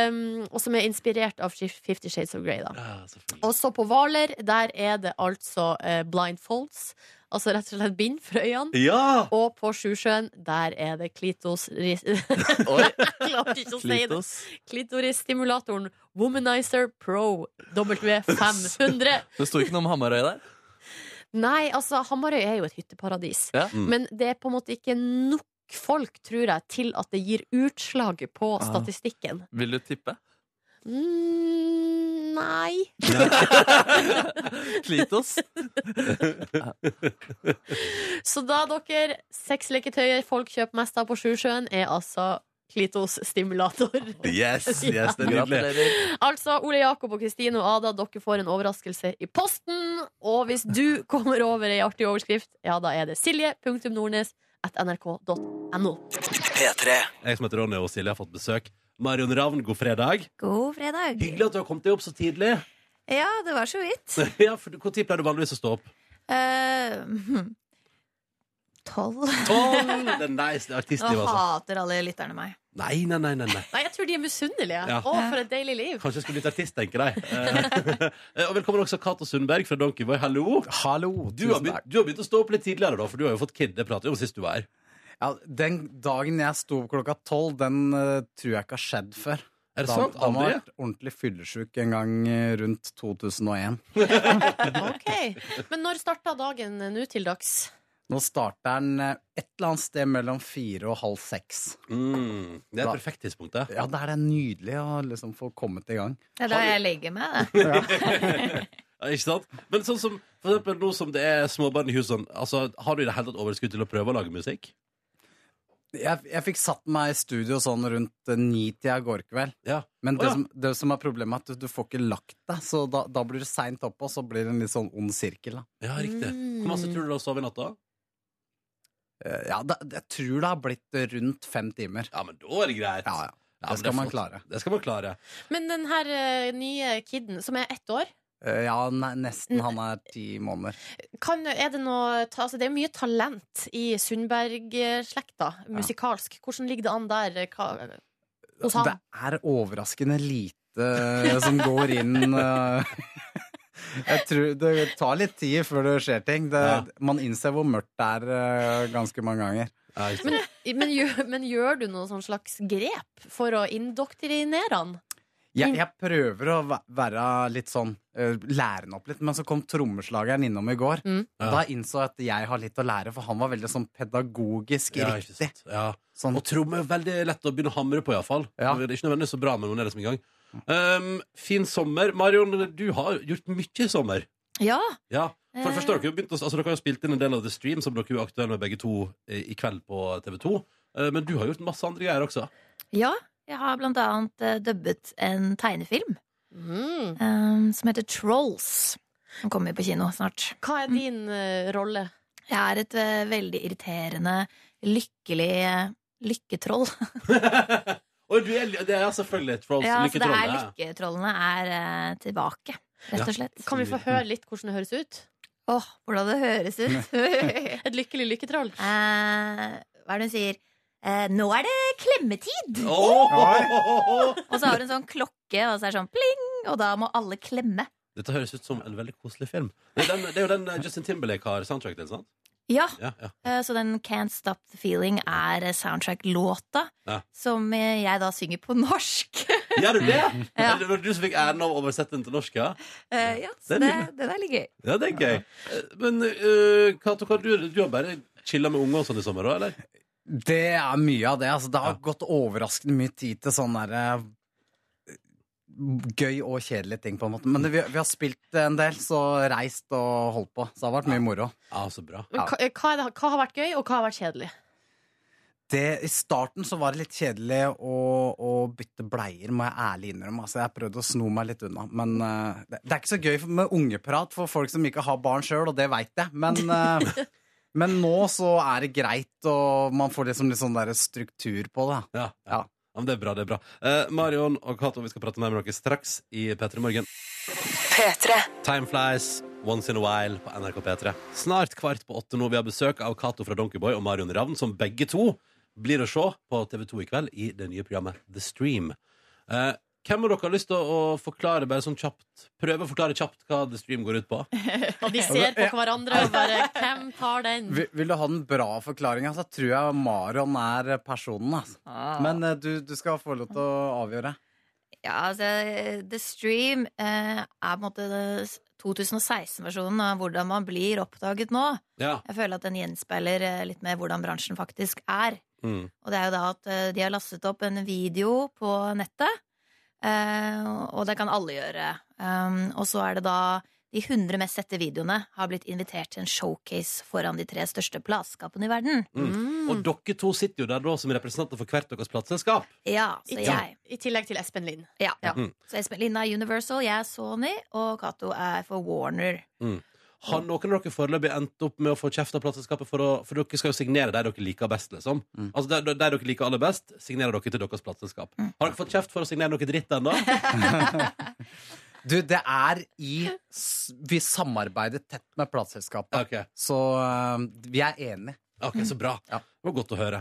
um, og som er inspirert av Fifty Shades of Grey. Da.
ja, selvfølgelig.
Og så på Hvaler, der er det altså eh, blindfolds, altså rett og slett bind for øynene.
Ja!
Og på Sjusjøen, der er det klitos... Jeg
Oi,
klarte ikke å si det.
Klitos.
Klitorisstimulatoren Womanizer Pro W500.
Det sto ikke noe om Hamarøy der.
Nei, altså, Hamarøy er jo et hytteparadis.
Ja.
Mm.
Men det er på en måte ikke nok folk, tror jeg, til at det gir utslag på
Ah.
statistikken.
Vil du tippe?
Mm, nei.
Klitos?
Så da, dere, sexleketøyer folk kjøper mest av på Sjusjøen, er altså klitosstimulator.
Yes, yes, det er nydelig.
Gratulerer.
Altså, Ole Jakob og Kristine og Ada, dere får en overraskelse i posten. Og hvis du kommer over ei artig overskrift, ja, da er det silje.nordnes.nrk.no.
Jeg som heter Ronny og Silje har fått besøk. Marion Ravn, god fredag.
God fredag.
Hyggelig at du har kommet deg opp så tidlig.
Ja, det var så vidt.
Ja, for Når pleier du vanligvis å stå opp?
Eh, hm. Tolv.
Tolv! Det er nice, det er artistliv,
Nå
altså.
hater alle lytterne meg.
Nei, nei, nei, nei, nei.
Nei, jeg tror de er misunnelige.
Ja.
Å, for et deilig liv.
Kanskje jeg skulle blitt artist, tenker jeg. Eh, og velkommen også Cato Sundberg fra Donkeyboy. Hallo!
Hallo,
Du har,
tusen
begynt,
takk.
du har begynt å stå opp litt tidligere, da, for du har jo fått kid. Det pratet vi om sist du var her.
Ja, den dagen jeg sto opp klokka tolv, den eh, tror jeg ikke har skjedd før.
Er det
Da-
sant?
Da må jeg ha
Aldri?
vært ordentlig fyllesyk en gang eh, rundt 2001.
Ok. Men når starta dagen eh, nå til dags?
Nå starter den eh, et eller annet sted mellom fire og halv seks.
Mm, det er et perfekt tidspunkt, det.
Ja, det er det nydelig å liksom få kommet i gang.
Det er da jeg legger meg, det.
Ja, ikke sant? Men sånn som for eksempel nå som det er småbarn i husene, altså, har du i det hele tatt overskudd til å prøve å lage musikk?
Jeg, jeg fikk satt meg i studio sånn rundt eh, ni-tida i går kveld.
Ja.
Men
Å,
det,
ja.
som, det som er problemet, er at du, du får ikke lagt deg, så da, da blir du seint oppe, og så blir det en litt sånn ond sirkel. Da.
Ja, riktig. Hvor masse tror du du har sovet i natt, da?
Eh, Ja, det, jeg tror det har blitt rundt fem timer.
Ja, men da er det greit.
Ja, ja.
Ja, men
Det skal
er
man
flott.
klare.
Det skal man klare.
Men den her eh, nye kiden, som er ett år
Eh, Ja, ne
Mm.
nesten. Han er ti måneder.
kan, er det, noe, ta- altså det er mye talent i Sundberg-slekta, musikalsk. Hvordan ligger det an der? eh, Hva, hos han?
Det er overraskende lite eh, som går inn eh. Jeg tror Det tar litt tid før det skjer ting. Det,
Ja.
Man innser hvor mørkt det er eh, ganske mange ganger.
Ja, ikke sant?
Men, men, gjør, men gjør du noe sånn slags grep for å indoktrinere han?
Jeg, jeg prøver å væ- være litt sånn eh, Lære han opp litt, men så kom trommeslageren innom i går.
Mm.
Og Da innså jeg at jeg har litt å lære, for han var veldig sånn pedagogisk
Ja, ikke
riktig.
sant? Ja.
Sånn,
Og tromme er veldig lett å begynne å hamre på, iallfall.
Ja.
Det er ikke nødvendigvis så bra, men man er liksom i gang. Um, fin sommer. Marion, du har gjort mye i sommer.
Ja.
Ja. For det
Eh.
første, har dere, jo begynt å, altså, dere har jo spilt inn en del av The Stream, som dere jo er aktuelle med begge to eh, i kveld på TV2. Eh, Men du har gjort masse andre greier også.
Ja, jeg har blant annet eh, dubbet en tegnefilm
Mm.
eh, som heter Trolls. Som kommer på kino snart.
Hva er din eh, rolle?
Mm. Jeg er et eh, veldig irriterende, lykkelig eh, lykketroll.
Og du er, det er selvfølgelig et Trolls.
Ja, så det er
Lykketrollet.
lykketrollene er eh, tilbake,
Ja.
rett og slett.
Kan vi få høre litt hvordan det høres ut?
Åh, hvordan det høres ut. eh,
Et lykkelig lykketroll.
hva er det hun sier? Eh, nå er det klemmetid!
Åh!
Og så har hun sånn klokke, og så er det sånn pling, og da må alle klemme.
Dette høres ut som en veldig koselig film. Det er, den, det er jo den eh, Justin Timberlake har soundtrack til, sant?
Ja,
Ja, ja.
eh, så den Can't Stop The Feeling er eh, soundtrack-låta
Ja.
som eh, jeg da synger på norsk.
Gjør du det? Er Det var du som fikk æren av å oversette den til norsk, ja?
Eh, ja,
Det er
så det, det er litt gøy.
Ja, det er gøy. Eh, Men eh, Cato, hva du, du har bare chilla med unger og sånn i sommer òg, eller?
Det er mye av det. Altså, det har
Ja.
gått overraskende mye tid til sånn derre Gøy og kjedelige ting, på en måte. Men det, vi, vi har spilt en del, så reist og holdt på. Så det har vært mye moro.
Ja, så bra.
eh, Men hva, hva, er det, hva har vært gøy, og hva har vært kjedelig?
det, I starten så var det litt kjedelig å, å bytte bleier, må jeg ærlig innrømme. Altså, jeg prøvde å sno meg litt unna. Men eh, det, det er ikke så gøy for- med ungeprat for folk som ikke har barn sjøl, og det veit jeg. Men, eh, men nå så er det greit, og man får liksom litt sånn der struktur på det.
Ja, ja.
Ja.
ja men det er bra, det er bra. Eh, Marion og Cato, vi skal prate mer med dere straks i P3 Morgen. Time flies, once in a while på NRK P3. Snart kvart på åtte nå. Vi har besøk av Cato fra Donkeyboy og Marion Ravn, som begge to blir å se på TV2 i kveld i det nye programmet The Stream. Eh, hvem av dere har lyst til å forklare bare sånn kjapt Prøve å forklare kjapt hva The Stream går ut på?
Og de ser på hverandre og bare Hvem tar den?
Vil, vil du ha den bra forklaringa, så tror jeg Marion er personen. Altså.
Ah.
Men eh, du, du skal få lov til å avgjøre.
Ja, altså, The Stream eh, er på en måte 2016-versjonen av hvordan man blir oppdaget nå.
Ja.
Jeg føler at den gjenspeiler eh, litt mer hvordan bransjen faktisk er.
Mm.
Og det er jo da at eh, de har lastet opp en video på nettet, eh, og det kan alle gjøre. Um, og så er det da de 100 mest sette videoene har blitt invitert til en showcase foran de tre største plateskapene i verden.
Mm.
Mm.
Og dere to sitter jo der da som representanter for hvert deres plateselskap.
Ja, så
I,
jeg.
I tillegg til Espen Lind.
Ja.
Mm.
Så Espen Linda er Universal, jeg er Sony, og Cato er for Warner.
Mm. Har noen av dere foreløpig endt opp med å få kjeft av plateselskapet? For, å- for dere skal jo signere der dere liker best, liksom.
Mm.
Altså der, der dere liker aller best, signerer dere til deres plateselskap.
Mm.
Har dere fått kjeft for å signere noe dritt ennå?
Du, det er i s- Vi samarbeider tett med plateselskapet.
Ok,
Så eh, vi er enige.
ok, så bra.
Ja.
Det var godt å høre.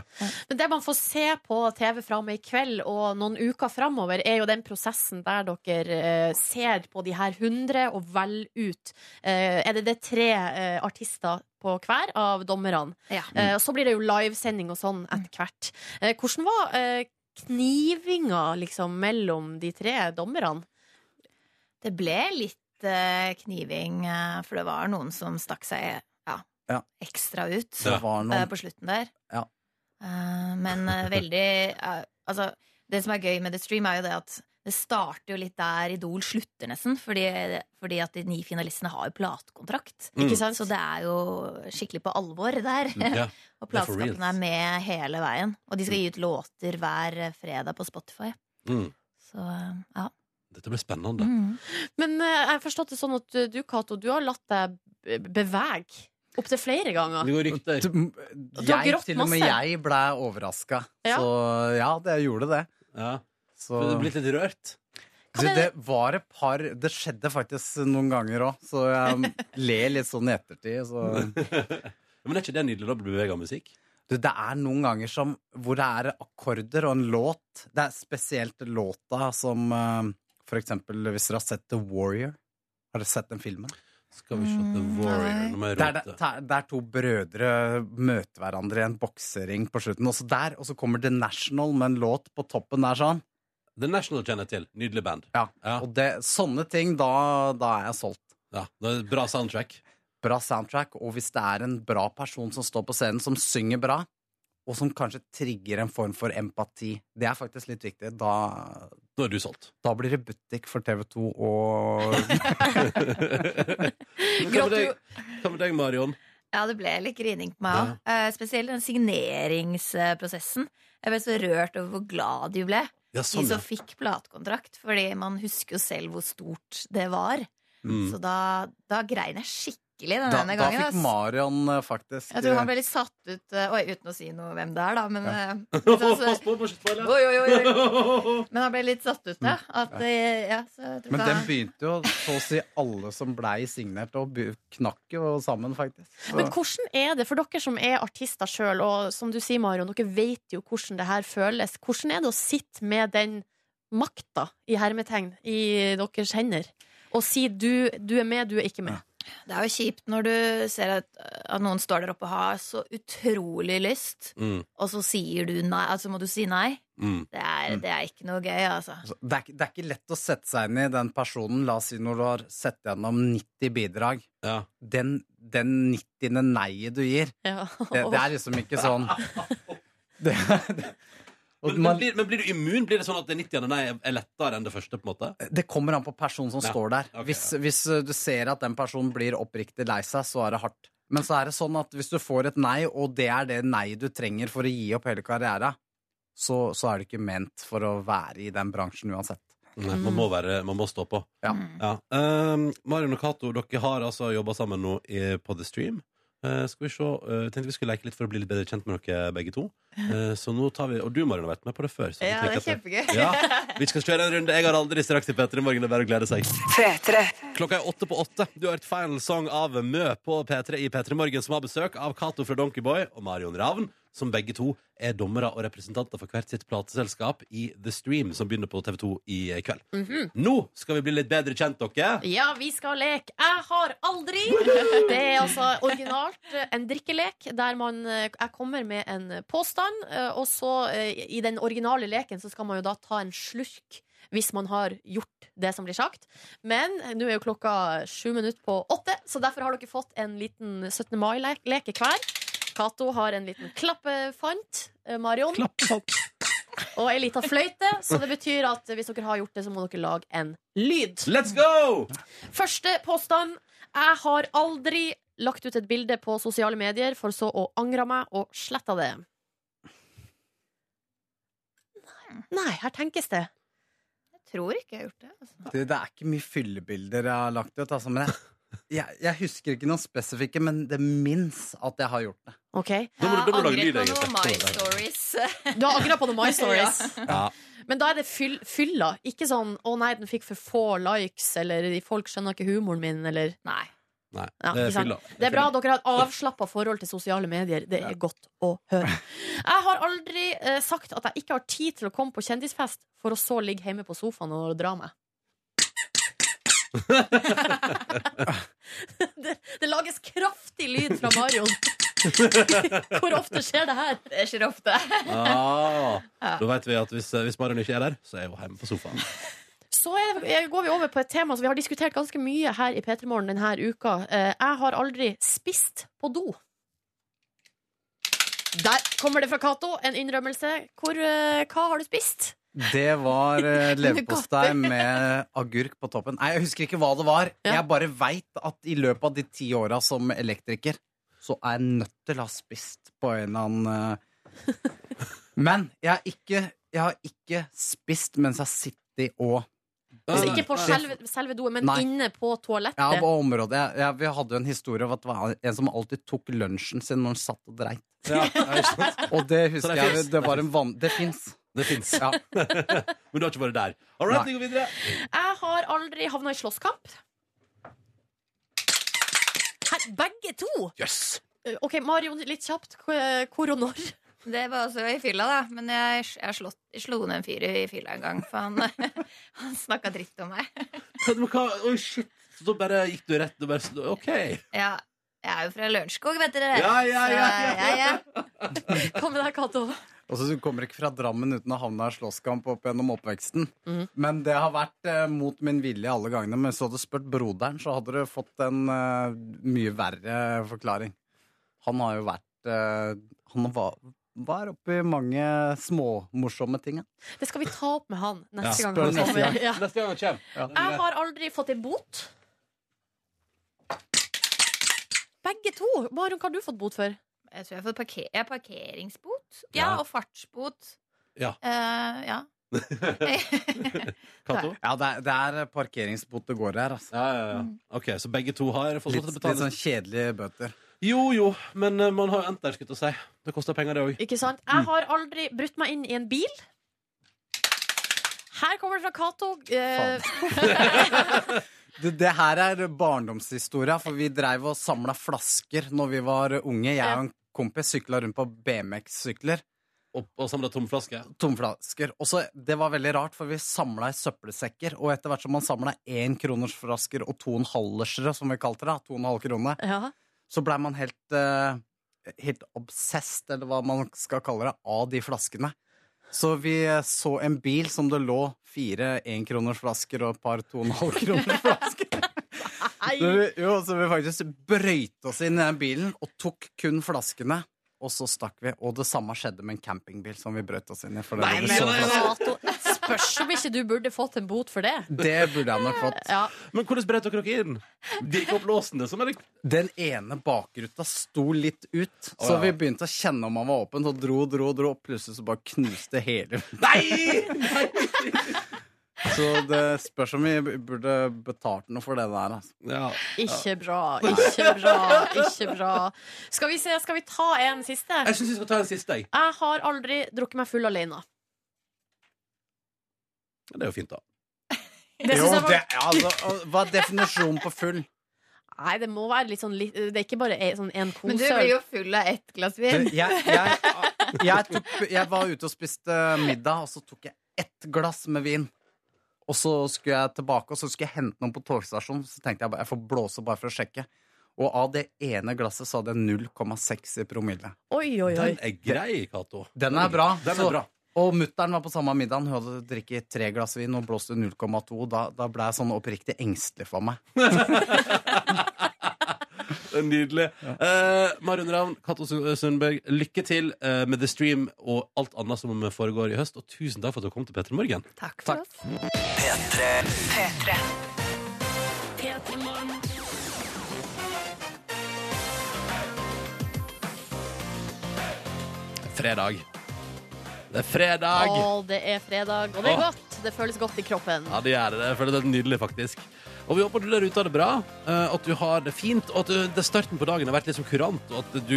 Men det man får se på TV fra og med i kveld og noen uker framover, er jo den prosessen der dere eh, ser på de her 100 og velger ut. Eh, er det det tre eh, artister på hver av dommerne?
Ja.
Eh, og så blir det jo livesending og sånn etter hvert. Eh, hvordan var eh, knivinga liksom mellom de tre dommerne?
Det ble litt eh, kniving, eh, for det var noen som stakk seg ja,
Ja.
ekstra ut
Det
Ja.
var
eh,
noen
på slutten der.
Ja.
Eh, men eh, veldig eh, Altså, det som er gøy med The Stream, er jo det at det starter jo litt der Idol slutter, nesten. Fordi, fordi at de ni finalistene har jo platekontrakt.
Mm.
Ikke sant? Så det er jo skikkelig på alvor der.
Ja. Det er
Og
for reals.
plateskapene er med hele veien. Og de skal gi ut låter hver eh, fredag på Spotify.
Mm.
Så eh, ja.
Dette blir spennende.
Mm.
Men eh, jeg har forstått det sånn at du, Cato, du har latt deg be- bevege opptil flere ganger.
Det går rykter.
Du har
jeg,
grått
til og med
masse.
jeg ble overraska.
Ja.
Så ja, det jeg gjorde det.
Ja.
Så
Du er blitt litt rørt?
du, det var et par Det skjedde faktisk noen ganger òg, så jeg ler litt sånn i ettertid. Så.
Men er ikke det nydelig da å bli beveget av musikk?
Du, det er noen ganger som, hvor det er akkorder og en låt. Det er spesielt låta som eh, For eksempel hvis dere har sett The Warrior. Har dere sett den filmen?
Skal vi se The
Mm,
Warrior
nei.
Nå må jeg
Der, det-
rote.
der, der to brødre møter hverandre i en boksering på slutten. Også der, og så kommer The National med en låt på toppen der sånn.
The National kjenner jeg til. Nydelig band.
Ja.
Ja.
Og det, sånne ting, da, da er jeg solgt.
Ja. Det er et bra soundtrack.
Bra soundtrack, og hvis det er en bra person som står på scenen, som synger bra, og som kanskje trigger en form for empati, det er faktisk litt viktig, da,
Nå er du solgt.
da blir det butikk for TV2 og
Hva med deg- hva med deg, Marion?
Ja, det ble litt grining på meg òg. spesielt den signeringsprosessen. Jeg ble så rørt over hvor glad de ble,
Ja,
de
sånn, ja.
som fikk platekontrakt. Fordi man husker jo selv hvor stort det var.
Mm.
Så da, da grein jeg skikkelig den
Da, da
ene gangen.
fikk
ass.
Marion eh, faktisk
jeg tror han
eh,
ble litt satt ut eh, Oi, uten å si noe hvem det er, da. Men, eh, litt sånn så-
Pass på, må ikke spoile.
oi, oi, oi, oi. men han ble litt satt ut, ja. At, eh, ja så jeg tror
Men
ikke
den
han-
begynte jo så å si alle som blei signert, og be- knakk jo sammen, faktisk. Så.
Men hvordan er det for dere som er artister sjøl, og som du sier, Marion, dere vet jo hvordan det her føles. Hvordan er det å sitte med den makta, i hermetegn, i deres hender? Og si du, du er med, du er ikke med.
Det er jo kjipt når du ser at, at noen står der oppe og har så utrolig lyst,
Mm.
og så sier du nei. Altså må du si nei.
Mm.
Det er, det er ikke noe gøy, altså.
Så Det er, ikke- det er ikke lett å sette seg inn i den personen, la oss si når du har sett gjennom 90 bidrag.
Ja.
Den, den 90. nei-et du gir,
Ja.
det, det er liksom ikke sånn det, det, og
Men, men,
man,
blir, men blir du immun? Blir det sånn at det 90. nei er er lettere enn det første? på en måte?
det kommer an på personen som
Ja,
står der. eh,
ok,
Hvis, hvis uh, du ser at den personen blir oppriktig lei seg, så er det hardt. Men så er det sånn at hvis du får et nei, og det er det nei du trenger for å gi opp hele karriera, så, så er du ikke ment for å være i den bransjen uansett.
Nei,
Mm.
man, må være, man må stå på.
Ja.
Ja. Um, Marion og Cato, dere har altså jobba sammen nå i, på The Stream. Eh, skal vi se, eh, tenkte vi skulle leke litt for å bli litt bedre kjent med dere begge to. Eh, så nå tar vi, Og du, Marion, har vært med på det før. Så
Ja,
vi
det
tenker
er
at
kjempegøy.
Ja, vi skal kjøre en runde. Jeg har aldri straks til Petter i morgen. Det er bare å glede seg. Klokka er åtte på åtte. Du har hørt Final Song av Mø på P3 i P3 Morgen, som har besøk av Cato fra Donkeyboy og Marion Ravn, som begge to er dommere og representanter for hvert sitt plateselskap i The Stream, som begynner på TV2 i kveld.
Mhm.
Nå skal vi bli litt bedre kjent, dere.
Ja, vi skal leke Jeg har aldri Det er altså originalt eh, en drikkelek Der man, eh, jeg kommer med en påstand eh, Og så eh, i den originale leken Så skal man jo da ta en slurk Hvis man har gjort det som blir sagt Men eh, nå er jo klokka sju minutter på åtte Så derfor har dere fått en liten 17. mai-leke hver Kato har en liten klappefant eh, Marion Og en liten fløyte Så det betyr at hvis dere har gjort det Så må dere lage en lyd
Let's go!
Første påstand. Jeg har aldri lagt ut et bilde på sosiale medier for så å angre meg og sletta det. Nei, Nei, her tenkes det.
Jeg tror ikke jeg har gjort det. Altså.
Du, det er ikke mye fyllebilder jeg har lagt ut, altså, men jeg, jeg, jeg husker ikke noen spesifikke, men det minnes at jeg har gjort det.
Ok,
Da må du- da må du lage lyd,
Jeg angret på
egentlig.
noen My Stories.
Du har angra på noen My Stories.
Ja.
Men da er det fyll, fylla. Ikke sånn 'Å nei, den fikk for få likes', eller 'Folk skjønner ikke humoren min', eller
Nei.
Nei, det
Ja,
er
ikke sant.
fylla.
Det er bra at dere har et avslappa forhold til sosiale medier. Det er godt å høre. Jeg har aldri eh, sagt at jeg ikke har tid til å komme på kjendisfest, for å så ligge hjemme på sofaen og dra meg. det, det lages kraftig lyd fra Marion. Hvor ofte skjer det her?
Det skjer ofte.
Ah, Da vet vi at hvis, eh, hvis Marion ikke er der, så er hun hjemme på sofaen.
Så er, er- går vi over på et tema som vi har diskutert ganske mye her i P3 Morgen denne uka. Eh, jeg har aldri spist på do. Der kommer det fra Cato, en innrømmelse. Hvor, eh, hva har du spist?
Det var eh, leverpostei
godteri.
med agurk på toppen. Nei, jeg husker ikke hva det var.
Ja.
Jeg bare veit at i løpet av de ti åra som elektriker, så er jeg nødt til å ha spist på en eller annen eh. Men jeg har ikke, jeg har ikke spist mens jeg sitter og
Altså,
Nei,
ikke på selve, selve doen, men
Nei.
inne på toalettet.
Ja, på området. Jeg, jeg, vi hadde jo en historie om at det var en som alltid tok lunsjen sin når han satt og dreit.
Ja, ja, ikke sant?
Og det husker
det
jeg.
finnes,
Det
det
var en van... Det fins.
Det fins.
Ja.
Men du har ikke vært der. All
Nei.
right, vi går videre.
Jeg har aldri havna i slåsskamp. Her, begge to!
Yes.
Eh, OK, Marion, litt kjapt. eh, Hvor hvor og når?
Det var også i fylla, da. Men jeg, jeg, slått, jeg slo ned en fyr i fylla en gang, for han, han snakka dritt om meg.
Men hva? Oi, shit. Så da bare gikk du rett og bare OK.
Ja, jeg er jo fra Lørenskog, vet dere.
Ja, ja, ja, ja,
Så, ja,
Hva med deg, Cato?
Og så kommer du ikke fra Drammen uten å havne i slåsskamp opp gjennom oppveksten. Men det har vært eh, mot min vilje alle gangene. Men så hadde du spurt broderen, så hadde du fått en eh, mye verre eh, forklaring. Han har jo vært eh, Han var, var oppi mange småmorsomme ting. ja.
Det skal vi ta opp med han neste
Ja,
gang. Han
spør neste
kommer.
gang.
Ja.
Neste gang han kommer.
Jeg har aldri fått en bot. Begge to. Marion, hva har du fått bot for?
Jeg tror jeg har fått parker ja, parkeringsbot. Ja,
Ja.
og fartsbot.
Ja.
Eh, ja.
Cato?
Ja, det er, det er parkeringsbot det går her, altså.
Ja, ja, ja.
Mm.
OK, så begge to har fått lov
Litt,
til å
litt
betale.
sånn kjedelige bøter.
Jo, jo, men eh, man har jo endt der, skulle jeg til å si. Det koster penger, det òg.
Ikke sant?
Mm.
Jeg har aldri brutt meg inn i en bil. Her kommer det fra Cato. Eh,
Det, det her er barndomshistoria, for vi dreiv og samla flasker når vi var unge. Jeg og en kompis sykla rundt på BMX-sykler.
Og, og samla tom flaske.
Tomflasker. Og så, det var veldig rart, for vi samla i søppelsekker. Og etter hvert som man samla énkronersflasker og to og en halversere, som vi kalte det, da, to og en halv krone,
ja.
så blei man helt, eh, helt obsessed, eller hva man skal kalle det, av de flaskene. Så vi eh, så en bil som det lå fire énkronersflasker og et par to og en halv kronersflasker. Så
Nei.
vi, jo, så vi faktisk brøyte oss inn i den bilen og tok kun flaskene. Og så stakk vi. Og det samme skjedde med en campingbil som vi brøt oss inn i. For det
Nei,
var det
men-
så-
Cato, Spørs om ikke du burde fått en bot for det.
Det burde jeg nok fått.
Ja.
Men hvordan brøt dere dere inn? Dirka opp låsen, det som er likt.
Den ene bakruta sto litt ut,
Å,
så
ja.
vi begynte å kjenne om han var åpen. Så dro, dro, dro, og plutselig så bare knuste hele
Nei!
Så det spørs om vi burde betalt noe for det der. Altså.
Ja.
Ikke bra, ikke bra, ikke bra. Skal vi, se, skal vi ta en siste?
Jeg syns vi skal ta en siste. jeg.
Jeg har aldri drukket meg full alene.
Det er jo fint, da.
Det synes jeg var
altså, hva er definisjonen på full?
Nei, det må være litt sånn litt, Det er ikke bare en, sånn en
Men du blir
konsøl.
jo full av ett glass vin.
Jeg, jeg, jeg, tok, jeg var ute og spiste middag, og så tok jeg ett glass med vin. Og så skulle jeg tilbake, og så skulle jeg hente noen på togstasjonen. Så tenkte jeg bare, jeg får blåse bare for å sjekke. Og av det ene glasset så hadde jeg 0,6 i promille.
Oi, oi, oi.
Den er grei, Cato.
Den er bra.
Den
så-
er bra.
Og mutter'n var på samme middagen. Hun hadde drikket tre glass vin og blåste 0,2. Da, da ble jeg sånn oppriktig engstelig for meg.
Nydelig. Eh, Marion Ravn, Cato Su- eh, Sundberg, lykke til eh, med The Stream og alt annet som foregår i høst. Og tusen takk for at du kom til Petter Morgen.
Takk for oss.
Fredag. Det er fredag!
Å, det er fredag, og det er
Åh.
godt. Det føles godt i kroppen.
Ja, det gjør det. Jeg føler det er nydelig, faktisk. Og vi håper du der ute har det bra, eh, at du har det fint, og at du, det starten på dagen har vært liksom kurant, og at du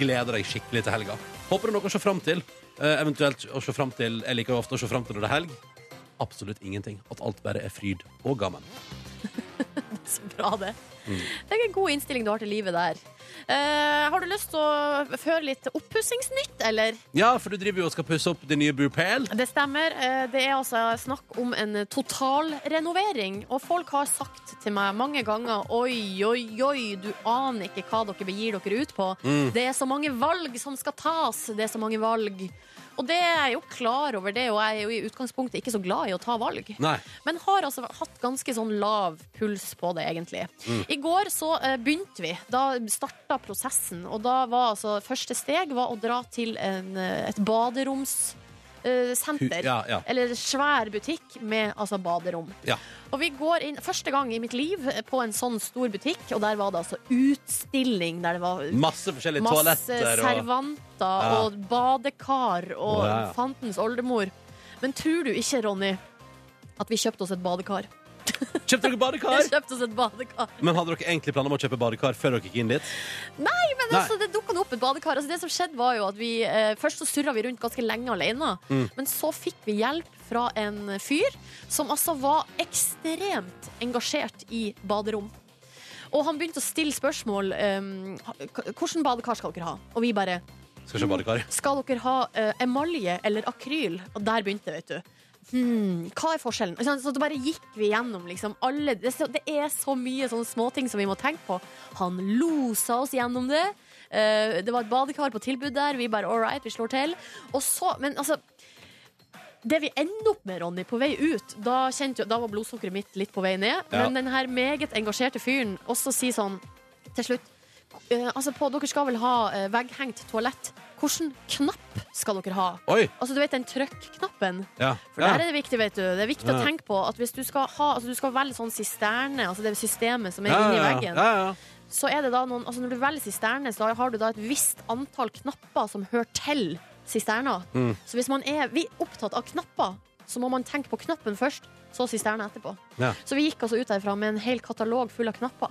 gleder deg skikkelig til helga. Håper du har noe å se fram til. eh, Eventuelt å se fram til Jeg liker jo ofte å se fram til når det er helg. Absolutt ingenting. At alt bare er fryd og gammen.
Så bra, det. Det er en god innstilling du har til livet der. Eh, har du lyst til å føre litt oppussingsnytt, eller?
Ja, for du driver jo og skal pusse opp det nye Bupel.
Det stemmer. Eh, Det er altså snakk om en totalrenovering. Og folk har sagt til meg mange ganger Oi, oi, oi, du aner ikke hva dere begir dere ut på. Det er så mange valg som skal tas. Det er så mange valg. Og det er jeg jo klar over, det, og jeg er jo i utgangspunktet ikke så glad i å ta valg.
Nei.
Men har altså hatt ganske sånn lav puls på det, egentlig.
Mm.
I går så eh, begynte vi. Da starta prosessen. Og da var altså første steg var å dra til en, eh, et
Hu-
baderomssenter.
Ja, ja.
Eller svær butikk med altså baderom.
Ja.
Og vi går inn første gang i mitt liv eh, på en sånn stor butikk, og der var det altså utstilling. Der det var
Masse forskjellige
masse
toaletter og
servanter
Ja.
og badekar
Å,
og
ja, ja.
fantens oldemor. Men tror du ikke, Ronny, at vi kjøpte oss et badekar?
Kjøpte dere
Vi
badekar?
kjøpte oss et badekar.
Men hadde dere egentlig planer om å kjøpe badekar før dere gikk inn dit?
Men
Nei.
altså, det dukka opp et badekar. Altså, det som skjedde var jo at vi, eh, Først så surra vi rundt ganske lenge alene,
Mm.
men så fikk vi hjelp fra en fyr som altså var ekstremt engasjert i baderom. Og han begynte å stille spørsmål. Um, hvordan badekar skal dere ha? Og vi bare
Skal kjøpe badekar.
Skal dere ha eh, emalje eller akryl? Og der begynte det, vet du. Hmm, hva er forskjellen? Ikke sant? Så det bare gikk vi gjennom liksom, alle det, er så- det er så mye sånne småting som vi må tenke på. Han losa oss gjennom det. Eh, det var et badekar på tilbud der. Vi bare all right, vi slår til. Og så, men altså det vi ender opp med, Ronny, på vei ut Da, kjente, jo- da var blodsukkeret mitt litt på vei ned.
Ja.
Men den her meget engasjerte fyren også sier sånn til slutt eh, Altså, på, dere skal vel ha eh, vegghengt toalett. Hvilken knapp skal dere ha?
Oi!
Altså, du vet den trøkk-knappen?
Ja.
For der er det viktig, vet du. Det er viktig
Ja.
å tenke på at hvis du skal ha Altså, du skal velge sånn sisterne, altså det systemet som er
ja,
inni
ja, ja.
veggen.
Ja, ja.
Så er det da noen Altså, når du velger sisterne, så har du da et visst antall knapper som hører til sisterna.
Mm.
Så hvis man er vi er opptatt av knapper, så må man tenke på knappen først, så sisterna etterpå.
Ja.
Så vi gikk altså ut derfra med en hel katalog full av knapper.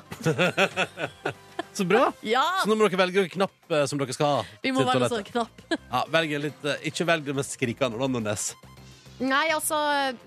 Så bra!
Ja!
Så nå må dere velge en knapp eh, som dere skal ha.
Vi må
til
velge
toalettet.
sånn knapp.
Ja, velg en litt, eh, ikke velg det mest skrikende Rondones.
Nei, altså,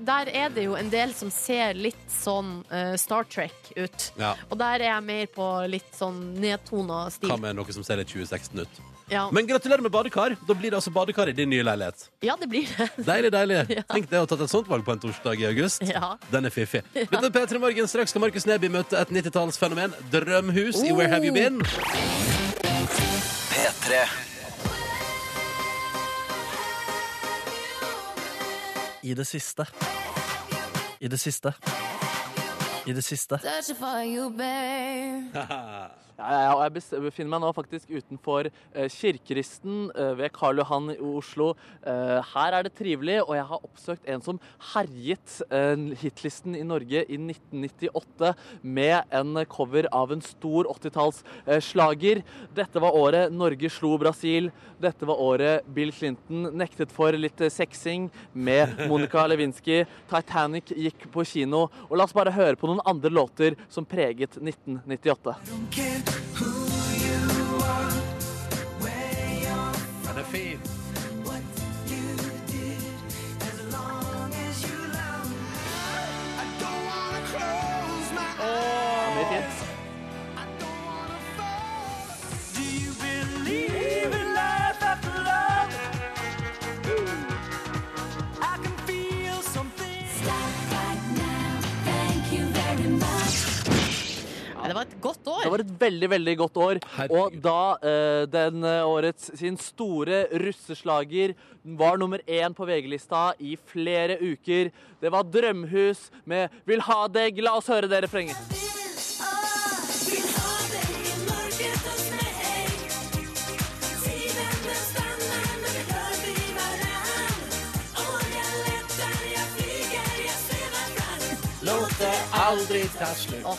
der er det jo en del som ser litt sånn eh, Star Trek ut.
Ja.
Og der er jeg mer på litt sånn nedtona stil.
Hva med noe som ser litt 2016 ut?
Ja.
Men gratulerer med badekar. Da blir det altså badekar i din nye leilighet.
ja, det blir det.
Deilig, deilig. Tenk det å ha tatt et sånt valg på en torsdag i august.
Ja.
Den er fiffig. Dette er P3 Morgen. Straks skal Markus Neby møte et 90-tallsfenomen. Drømhus i Where Have
Oh.
You Been?
I det siste. I det siste. I det siste.
Touch for you, babe.
Haha.
Ja, ja, ja, og jeg bes- befinner meg nå faktisk utenfor eh, Kirkeristen eh, ved Karl Johan i Oslo. Eh, her er det trivelig, og jeg har oppsøkt en som herjet eh, hitlisten i Norge i 1998 med en cover av en stor 80-tallsslager. Dette var året Norge slo Brasil. Dette var året Bill Clinton nektet for litt eh, sexing med Monica Lewinsky. Titanic gikk på kino. Og la oss bare høre på noen andre låter som preget 1998.
Den er fin.
Mye fint.
Ja, det var et godt år.
Det var et veldig, veldig godt år. Og
Herregud.
da eh, den eh, årets sin store russeslager var nummer én på VG-lista i flere uker. Det var 'Drømhus' med 'Vil ha deg'. La oss høre det refrenget.
Å,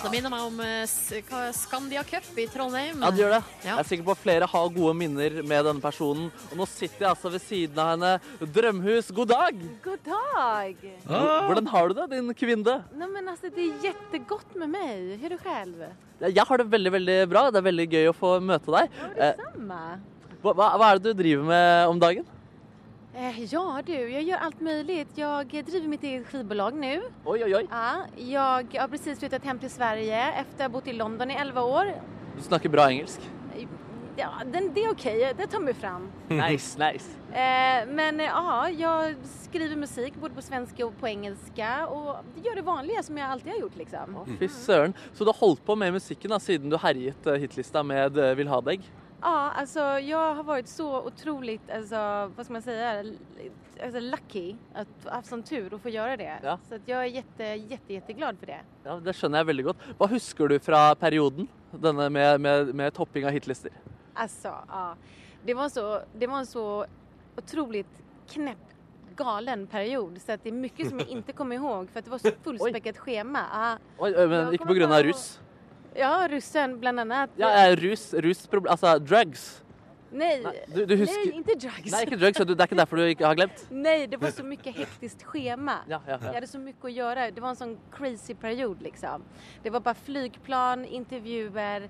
det minner meg om eh, s- hva- Skandia Cup i Trondheim.
Ja, det gjør det.
Ja.
Jeg er sikker på at flere har gode minner med denne personen. Og nå sitter jeg altså ved siden av henne. Drømhus, god dag!
God dag!
Hvor- Hvordan har du det, din kvinne?
Nej, men alltså, det är jättegott med mig. Hur är det själv?
Jeg har det veldig, veldig bra. Det er veldig gøy å få møte deg. Eh,
Samma.
Hva, hva hva er det du driver med om dagen?
Eh, ja, du. Jag gör allt möjligt. Jag driver mitt eget skivbolag nu.
Oi, oj, oj.
Ja, jag har precis flyttat hem till Sverige efter att ha bott i London i 11 år.
Du snakker bra engelsk.
Ja, den, det är okej. Det tar mig fram.
Nice, nice.
Eh, men eh, ja, jag skriver musik både på svenska och på engelska och gör det vanliga som jag alltid har gjort liksom.
Fy søren. Så du har holdt på med musikken da, siden du herjet eh, hitlista med eh, Vil ha deg?
Ja, alltså jag har varit så otroligt, alltså, vad ska man säga, l- alltså, lucky att ha haft sån tur att få göra det.
Ja.
Så att jag är jätte, jätte, jätteglad för det.
Ja, Det skjønner jeg veldig godt. Hva husker du fra perioden? Denne med, med, med topping av hitlister?
Alltså, ja. Det var, så, det var en så otroligt knäpp, galen period så att det är mycket som jag inte kommer ihåg för att det var så fullspäckat schema. Ja,
Oi, oi, men
Jeg
ikke
kommer
pga.
bare på-
russ?
ja ryssen bland annat.
Ja, eh, rus, rusproblem... Altså drugs.
Nej,
Nei, du, du
nej,
husker
inte drugs.
Nei, ikke drugs. så du- Det er ikke derfor du ikke har glemt?
Nej, det var så mycket hektiskt schema.
Ja, ja,
Jag
ja.
hade så mycket att göra. Det var en sån crazy period liksom. Det var bara flygplan, intervjuer,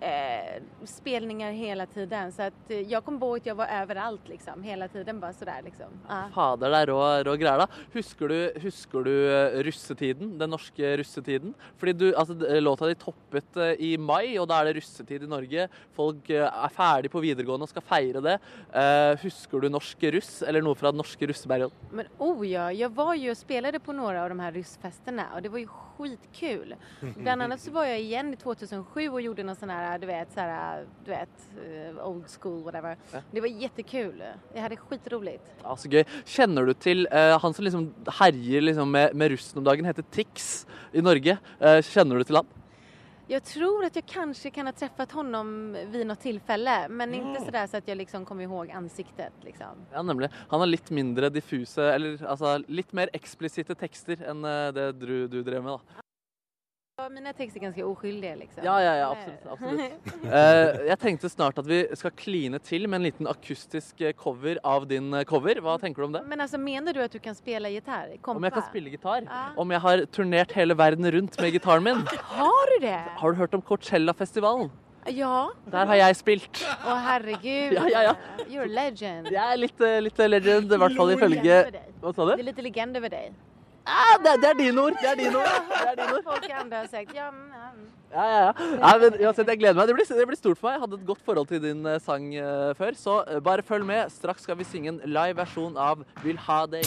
eh, spelningar hela tiden. Så att eh, jag kom på att jag var överallt liksom. Hela tiden bara sådär liksom. Ja.
Fader, det er rå, rå greier, da. Husker du, husker du eh, russetiden? Den norske russetiden? Fordi du, altså, d- Låta di toppet eh, i mai, og da er det russetid i Norge. Folk eh, er ferdig på videregående og skal feire det. Eh, Husker du norsk russ, eller noe fra den norske russeperioden?
Men oh ja, jag var ju och spelade på några av de här ryssfesterna och det var ju skitkul.
Mhm.
Bland annat så var jag igen i 2007 och gjorde någon sån här, du vet, så här, du vet, eh, old school whatever. Det var jättekul. Jag hade skitroligt.
Ja, så gøy. Kjenner du til eh, han som liksom herjer liksom med, med russen om dagen, heter Tix i Norge? Eh, kjenner du til han?
Jag tror att jag kanske kan ha träffat honom vid något tillfälle men inte sådär så att jag liksom kommer ihåg ansiktet. Liksom.
Ja, nemlig. Han har litt mindre diffuse, eller altså litt mer eksplisitte tekster enn eh, det du, du drev med, da.
Ja, Mina texter är ganska oskyldiga. Liksom.
Ja, ja,
Det
ja,
är-
absolutt. absolutt. Eh, jeg tenkte snart at vi skal kline til med en liten akustisk eh, cover av din eh, cover. Hva tenker du om det?
Men alltså menar du att du kan spela gitarr? Kompa? Ah.
Om jeg kan spille gitar?
Ja.
Om jeg har turnert hele verden rundt med gitaren min?
Har du det?
Har du hørt om Coachella-festivalen?
Ja.
Der har jeg spilt.
Åh herregud.
Ja, ja, ja.
You're a legend.
Jeg er litt, eh, litt legend, i hvert fall ifølge
Legend över dig.
Hva sa
Det
du?
är lite legend över dig.
Ah, det, det er dine ord! Det er dine ord. Det er dine ord.
Folk och andra har sagt ja, mm, ja, mm.
Ja, ja, ja. Nei, men uansett, jeg gleder meg. Det blir, det blir stort for meg. Jeg hadde et godt forhold til din eh, sang eh, før, så eh, bare følg med. Straks skal vi synge en live versjon av Vil ha deg.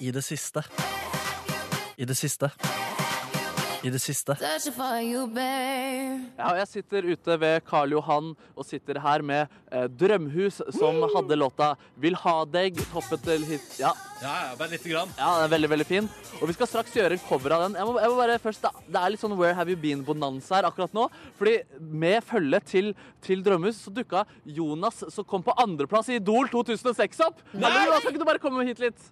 I det siste. I det siste. I det siste.
Ja, og jeg sitter ute ved Karl Johan og sitter her med eh, Drømhus, som hadde låta 'Vil ha deg', toppet til hit... Ja.
ja, bare lite grann.
Ja, den er veldig, veldig fin. Og vi skal straks gjøre en cover av den. Jeg må, jeg må bare først, da, Det er litt sånn Where Have You Been-bonanza her akkurat nå. Fordi med følge til, til Drømhus så dukka Jonas, som kom på andreplass i Idol 2006, opp. Nei! Jonas, kan ikke du bare komme hit litt?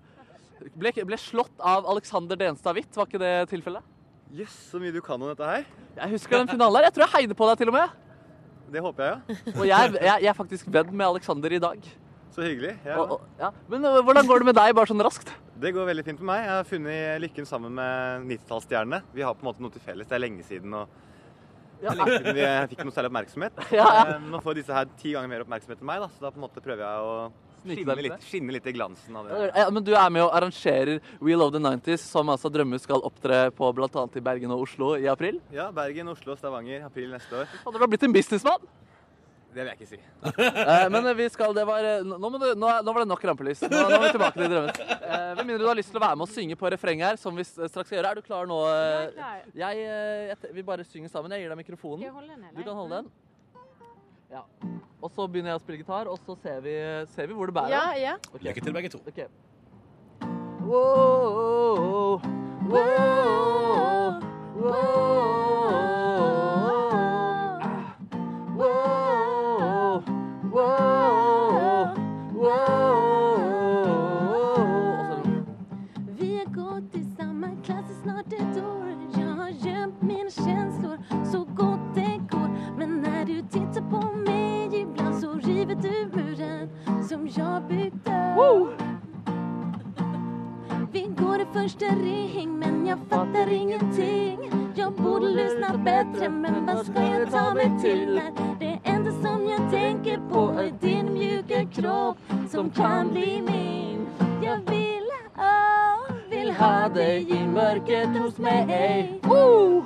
Ble, ble slått av Alexander Denstad Hvitt, var ikke det tilfellet?
Yes, så mye du kan om dette her.
Jeg husker den finalen her. Jeg tror jeg heide på deg til og med.
Det håper jeg, ja.
Og jeg, jeg, jeg er faktisk venn med Alexander i dag.
Så hyggelig. Jeg,
Og, og, ja. Men øh, hvordan går det med deg, bare sånn raskt?
Det går veldig fint med meg. Jeg har funnet lykken sammen med 90-tallsstjernene. Vi har på en måte noe til felles. Det er lenge siden, og det er lenge siden vi eh, fikk noe særlig oppmerksomhet.
Ja,
Eh, Nå får disse her ti ganger mer oppmerksomhet enn meg, da, så da på en måte prøver jeg å
Snike
skinne
deg litt
litt, skinne litt i glansen av det.
Ja, men du er med og arrangerer We Love the 90s, som altså Drømmes skal opptre på bl.a. i Bergen og Oslo i april.
Ja, Bergen, Oslo, Stavanger, april neste år.
Hadde du blitt en businessmann?
Det vil jeg ikke si.
Eh, men vi skal, det var eh, Nå, nå må du, nå, er- nå var det nok rampelys. Nå, nå er vi tilbake til Drømmes. Eh, med mindre du har lyst til å være med og synge på refrenget her, som vi s- eh, straks skal gjøre. Er du klar nå? eh? Jeg, eh, jeg, te- vi bare synger sammen. Jeg gir deg mikrofonen. Du kan holde den. Ja. Og så begynner jeg å spille gitar, og så ser vi, ser vi hvor det bærer.
Ja, ja.
Ok.
Lykke til, begge to.
Ok. Wow, wow, wow, wow, wow, wow.
Vi har gått i samma klass i snart ett år Jag har gömt mina känslor så gott det går Men när du tittar på mig ibland så river du muren som jag byggde Vi går i första ring men jag fattar ingenting Jag borde lyssna bättre men vad ska jag ta mig till när Det enda som jag tänker på är din mjuka kropp som kan bli min Jag vill Åh, vill ha dig i mörkret hos mig oh!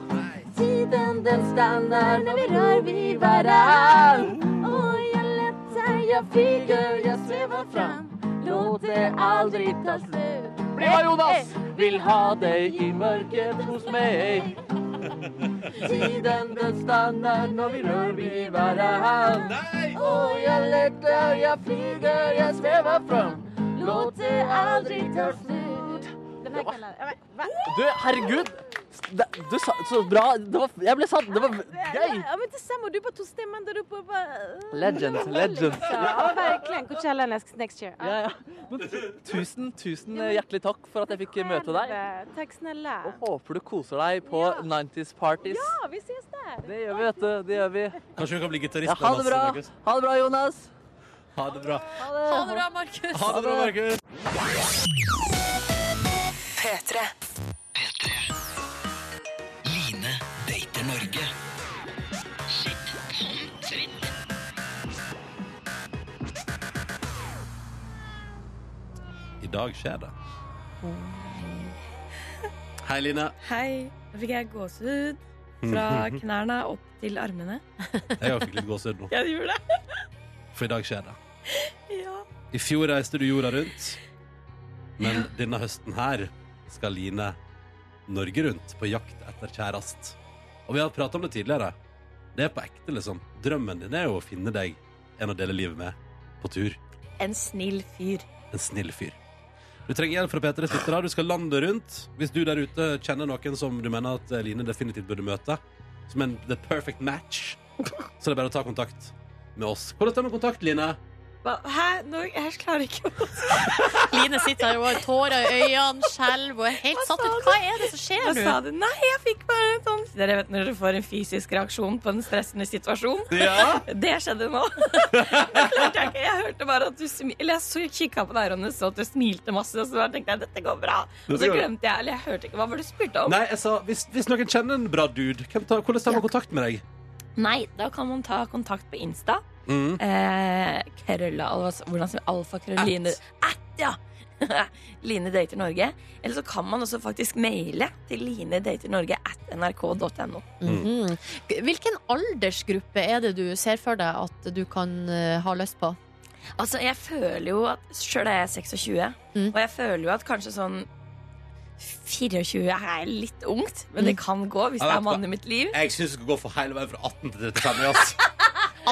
Tiden den stannar när vi rör vid varann Och jag lättar, jag flyger, jag svävar fram Låt det aldrig ta slut
Bra, Jonas! Vill ha dig i mörkret hos mig Tiden den stannar när vi rör vid varann Och jag lättar, jag flyger, jag svävar fram Låt det aldrig ta slut Du, herregud! Det, du sa så bra det var, Jeg ble satt, det var gøy!
Ja men detsamma, du bara tog stämman där uppe och bara...
Legend, legend.
Ja verkligen, Coachella next, next year.
Ja, ja. Men tusen, tusen hjertelig takk for at jeg fikk møte deg.
Tack snälla.
Håper du koser deg på 90s parties.
Ja, vi ses där.
Det gjør vi, vet du. Det gjør vi.
Kanskje hun kan bli gitarist.
Ja, ha det bra. Ha det bra, Jonas.
Ha det bra.
Ha det bra, Markus.
Ha det bra, Markus.
P3.
Line dater Norge. sånn
I dag skjer det. Hei, Line.
Hei. Nå fikk jeg gåsehud
Mm.
fra knærne opp til armene.
Jeg fikk litt gåsehud nå.
Ja, du gjorde det?
For i dag skjer det.
Ja.
I fjor reiste du jorda rundt, men denne høsten her skal Line Norge rundt på jakt etter kjærest. Og vi har pratet om det tidligere. Det er på ekte, liksom. Drømmen din er jo å finne deg en å dele livet med på tur.
En snill fyr.
En snill fyr. Du trenger hjelp fra P3s lyttere. Du skal landet rundt. Hvis du der ute kjenner noen som du mener at Line definitivt burde møte, som en the perfect match, så er det bare å ta kontakt med oss. Hvordan tar man kontakt, Line?
Hva? Hæ? Nå, jeg klarer ikke å
Line sitter her og har tårer i øynene, skjelver og er helt satt ut. Hva er det som skjer
Hva
nå?
sa du? Nei, jeg fikk bare en sånn Dere vet når dere får en fysisk reaksjon på en stressende situasjon?
Ja.
Det skjedde nå. Det klarte jeg ikke. Jeg hørte bare at du smil... Eller jeg så kikka på deg, Ronny, så at du smilte masse, og så bare tenkte jeg dette går bra. Og så
Dette går bra.
glemte jeg Eller jeg hørte ikke. Hva var det du spurte om?
Nei, jeg sa hvis, hvis noen kjenner en bra dude, hvem tar, hvordan tar man kontakt med deg?
Nei, da kan man ta kontakt på Insta.
Mm.
Eh, krølla, altså, hvordan som alfakrøll Line At, ja! Line dater Norge. Eller så kan man også faktisk maile til linedaternorge at nrk.no.
Mm.
Mhm. Hvilken aldersgruppe er det du ser for deg at du kan eh, ha lyst på?
Altså, jeg føler jo at Sjøl er jeg 26, og jeg føler jo at kanskje sånn 24 er litt ungt, men det kan gå hvis
Jeg
det
vet
er mannen
hva.
i mitt liv.
Jeg syns du skal gå for hele veien fra 18 til 35. Ass.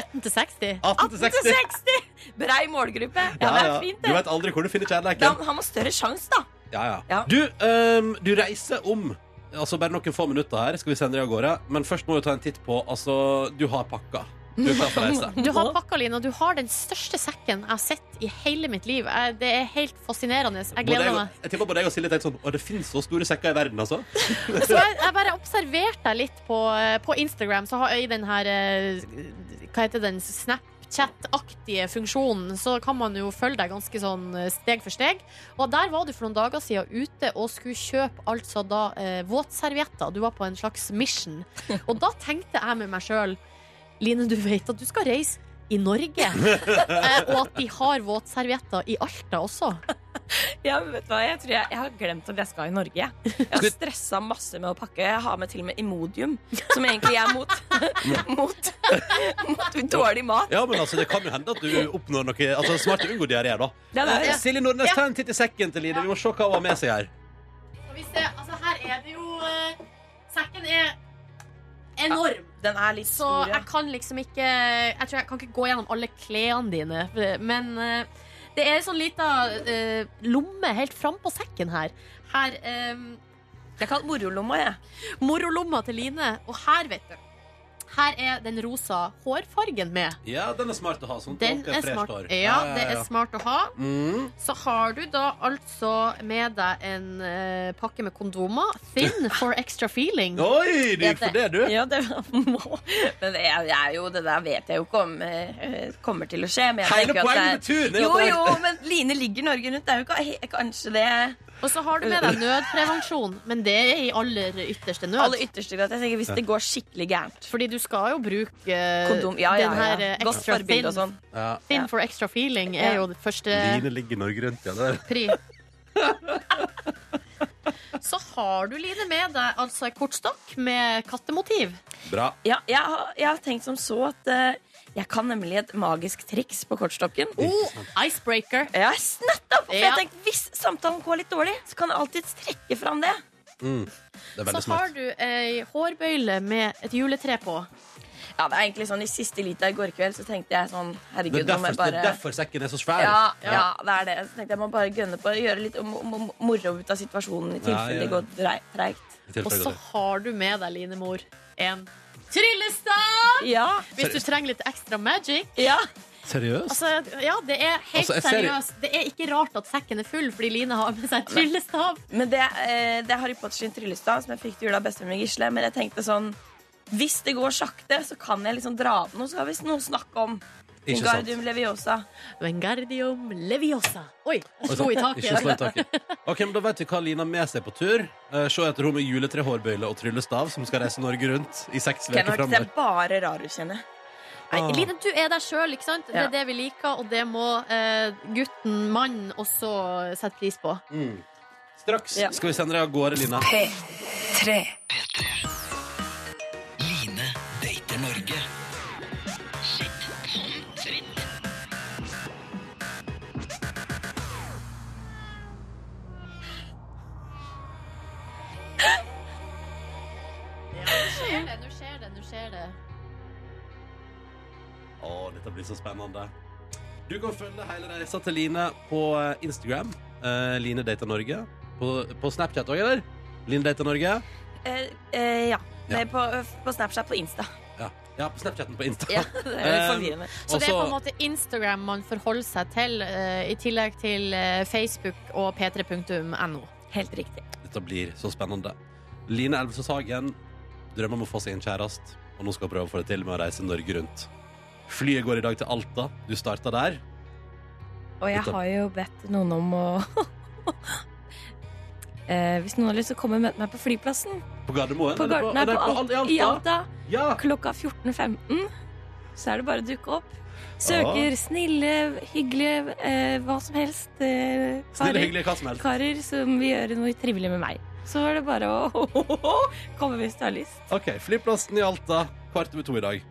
18 til 60.
18 til 60.
60. Brei målgruppe. Ja,
Ja,
det
ja.
er fint,
Du
det.
vet aldri hvor du finner
Da
kjærligheten.
har man større sjanse, da.
Ja, ja.
Ja.
Du, ehm, du reiser om Altså bare noen få minutter her, skal vi sende deg av gårde. Men først må vi ta en titt på Altså, du har pakka. Du er klar for å reise.
Du har pakka, Line, og du har den største sekken jeg har sett i hele mitt liv. Jeg- Det er helt fascinerende. Jeg
Både
gleder
jeg,
meg.
og- jeg tipper både jeg og Silje tenkte sånn Å, det finnes så store sekker i verden, altså.
Så jeg, jeg bare observerte deg litt på, eh, på Instagram. Så har, I den her eh, Hva heter den? Snapchat-aktige funksjonen, så kan man jo følge deg ganske sånn eh, steg for steg. Og der var du for noen dager siden ute og skulle kjøpe altså da eh, våtservietter. Du var på en slags mission. Og da tenkte jeg med meg sjøl Line, du vet at du skal reise i Norge, eh, og at de har våtservietter i Alta også.
Ja, men vet du hva? Jeg tror jeg, jeg har glemt at jeg skal i Norge. Jeg Jeg har stressa masse med å pakke. Jeg har med til og med Imodium, som egentlig er mot, mot, mot dårlig mat.
Ja, men altså, det kan jo hende at du oppnår noe Altså, smart å unngå diaré, da.
Ja, det er det.
Eh, Silje Nordnes, ta en titt i sekken til Line. Vi må se hva hun har med seg her.
Skal vi se, altså her er det jo eh, Sekken er
enorm. den er litt
så
stor, ja.
jeg kan liksom ikke Jeg tror jeg kan ikke gå gjennom alle klærne dine, for- men eh, det er sånn lita eh, lomme helt frampå sekken her. Her eh,
Det er kalt morolomma, jeg.
Morolomma til Line. Og her, vet du Her er den rosa hårfargen med.
Ja, den er smart å ha. Sånn at
Den
alt
er
fresh
smart.
hår.
Ja, det er smart å ha.
Mm.
Så har du da altså med deg en eh, pakke med kondomer. Thin for extra feeling.
Oi, du gikk for det, du.
Ja, det må. Men det er, det er jo, det der vet jeg jo ikke om eh, kommer til å skje. Men jeg
Hele
tenker at
poenget
det er-
med turen er jo
Jo,
at det er-
jo, men Line ligger Norge rundt. Det er jo ikke, he- kanskje det
Og så har du med deg nødprevensjon, men det er i aller ytterste nød.
Aller ytterste grad. Jeg tenker hvis det går skikkelig gærent.
Fordi du skal jo bruke eh,
Kondom. Ja, ja,
den
ja.
her eh,
Godt
extra
forbilde
thin.
og sånn.
Ja.
Thin for extra feeling er jo det første
Line ligger Norge rundt, ja. Det.
pri. Så har du, Line, med deg altså en kortstokk med kattemotiv.
Bra.
Ja, jeg, har- jeg har tenkt som så at eh, jeg kan nemlig et magisk triks på kortstokken.
Oh, icebreaker.
Yes, nettopp! For
Ja.
jeg tenkte, Hvis samtalen går litt dårlig, så kan jeg alltid trekke fram det.
Mm. Det er
Så
veldig smart.
har du ei hårbøyle med et juletre på.
Ja, det er egentlig sånn I siste lita i går kveld så tenkte jeg sånn
Det er
Herregud, nå må
derfor,
jeg bare
det er derfor sekken er så svær.
Ja, ja, det er det. Så tenkte jeg må bare gønne på å gjøre litt mo- mo- moro ut av situasjonen i tilfelle
Ja, ja.
det går drei- treigt.
I tilfelle
Og
det
så
går.
har du med deg, Line Mor, en tryllestav!
Ja.
Hvis du trenger litt ekstra magic.
Ja.
Seriøst?
Altså, ja, det er helt
Altså, jeg ser-
seriøst. Det er ikke rart at sekken er full fordi Line har med seg tryllestav.
Men det, eh, det er Harry Potter sin tryllestav som jeg fikk til jul av bestemor Gisle. Men jeg tenkte sånn Hvis det går sakte, så kan jeg liksom dra opp noe. Så har vi noe å snakke om.
Ikke sant.
Wingardium Leviosa.
Wingardium Leviosa.
Oi,
Oi, jeg Altså, slo i
sant.
taket.
Ikke slå i taket. Ok, men Da vet vi hva Lina har med seg på tur. Eh, se etter hun med juletrehårbøyle og tryllestav som skal reise Norge rundt i seks
Ken
uker
Hark, det
framover.
er bare rarushenne.
Nei, Line, du er deg sjøl, ikke sant? Det
Ja.
er det vi liker, og det må eh, gutten, mannen, også sette pris på.
Mm. Straks
Ja.
skal vi sende deg av gårde, Lina.
P3.
Line dater Norge. sånn Sitt som tritt.
Nå skjer det, nå skjer det, nå skjer det.
Å, dette blir så spennende. Du kan følge hele reisa til Line på eh, Instagram. eh, Line Data Norge. På, på Snapchat òg, eller? Line Data Norge.
Eh, eh, ja.
Ja.
Nei, på, på Snapchat på Insta.
Ja, ja på Snapchaten på Insta. Eh,
Ja, det er litt sånn forvirrende.
Så det er på en
Også-
måte Instagram man forholder seg til, eh, i tillegg til eh, Facebook og p3.no.
Helt riktig.
Dette blir så spennende. Line Elvestad Sagen drømmer om å få seg en kjæreste, og nå skal hun prøve å få det til med å reise Norge rundt. Flyet går i dag til Alta. Du starter der.
Og jeg
Dette-
har jo bedt noen om å Eh, Hvis noen har lyst til å komme og møte meg på flyplassen
På Gardermoen?
På
eller
Garten her
eller
på Al
Al-
i Alta
klokka
14.15, så er det bare å dukke opp. Søker
Ah.
snille, hyggelige, eh, hva som helst. Eh,
Snille,
karer-
hyggelige, hva som helst.
Karer som vil gjøre noe trivelig med meg. Så er det bare å komme hvis du har lyst.
OK. Flyplassen i Alta kvart over to i dag.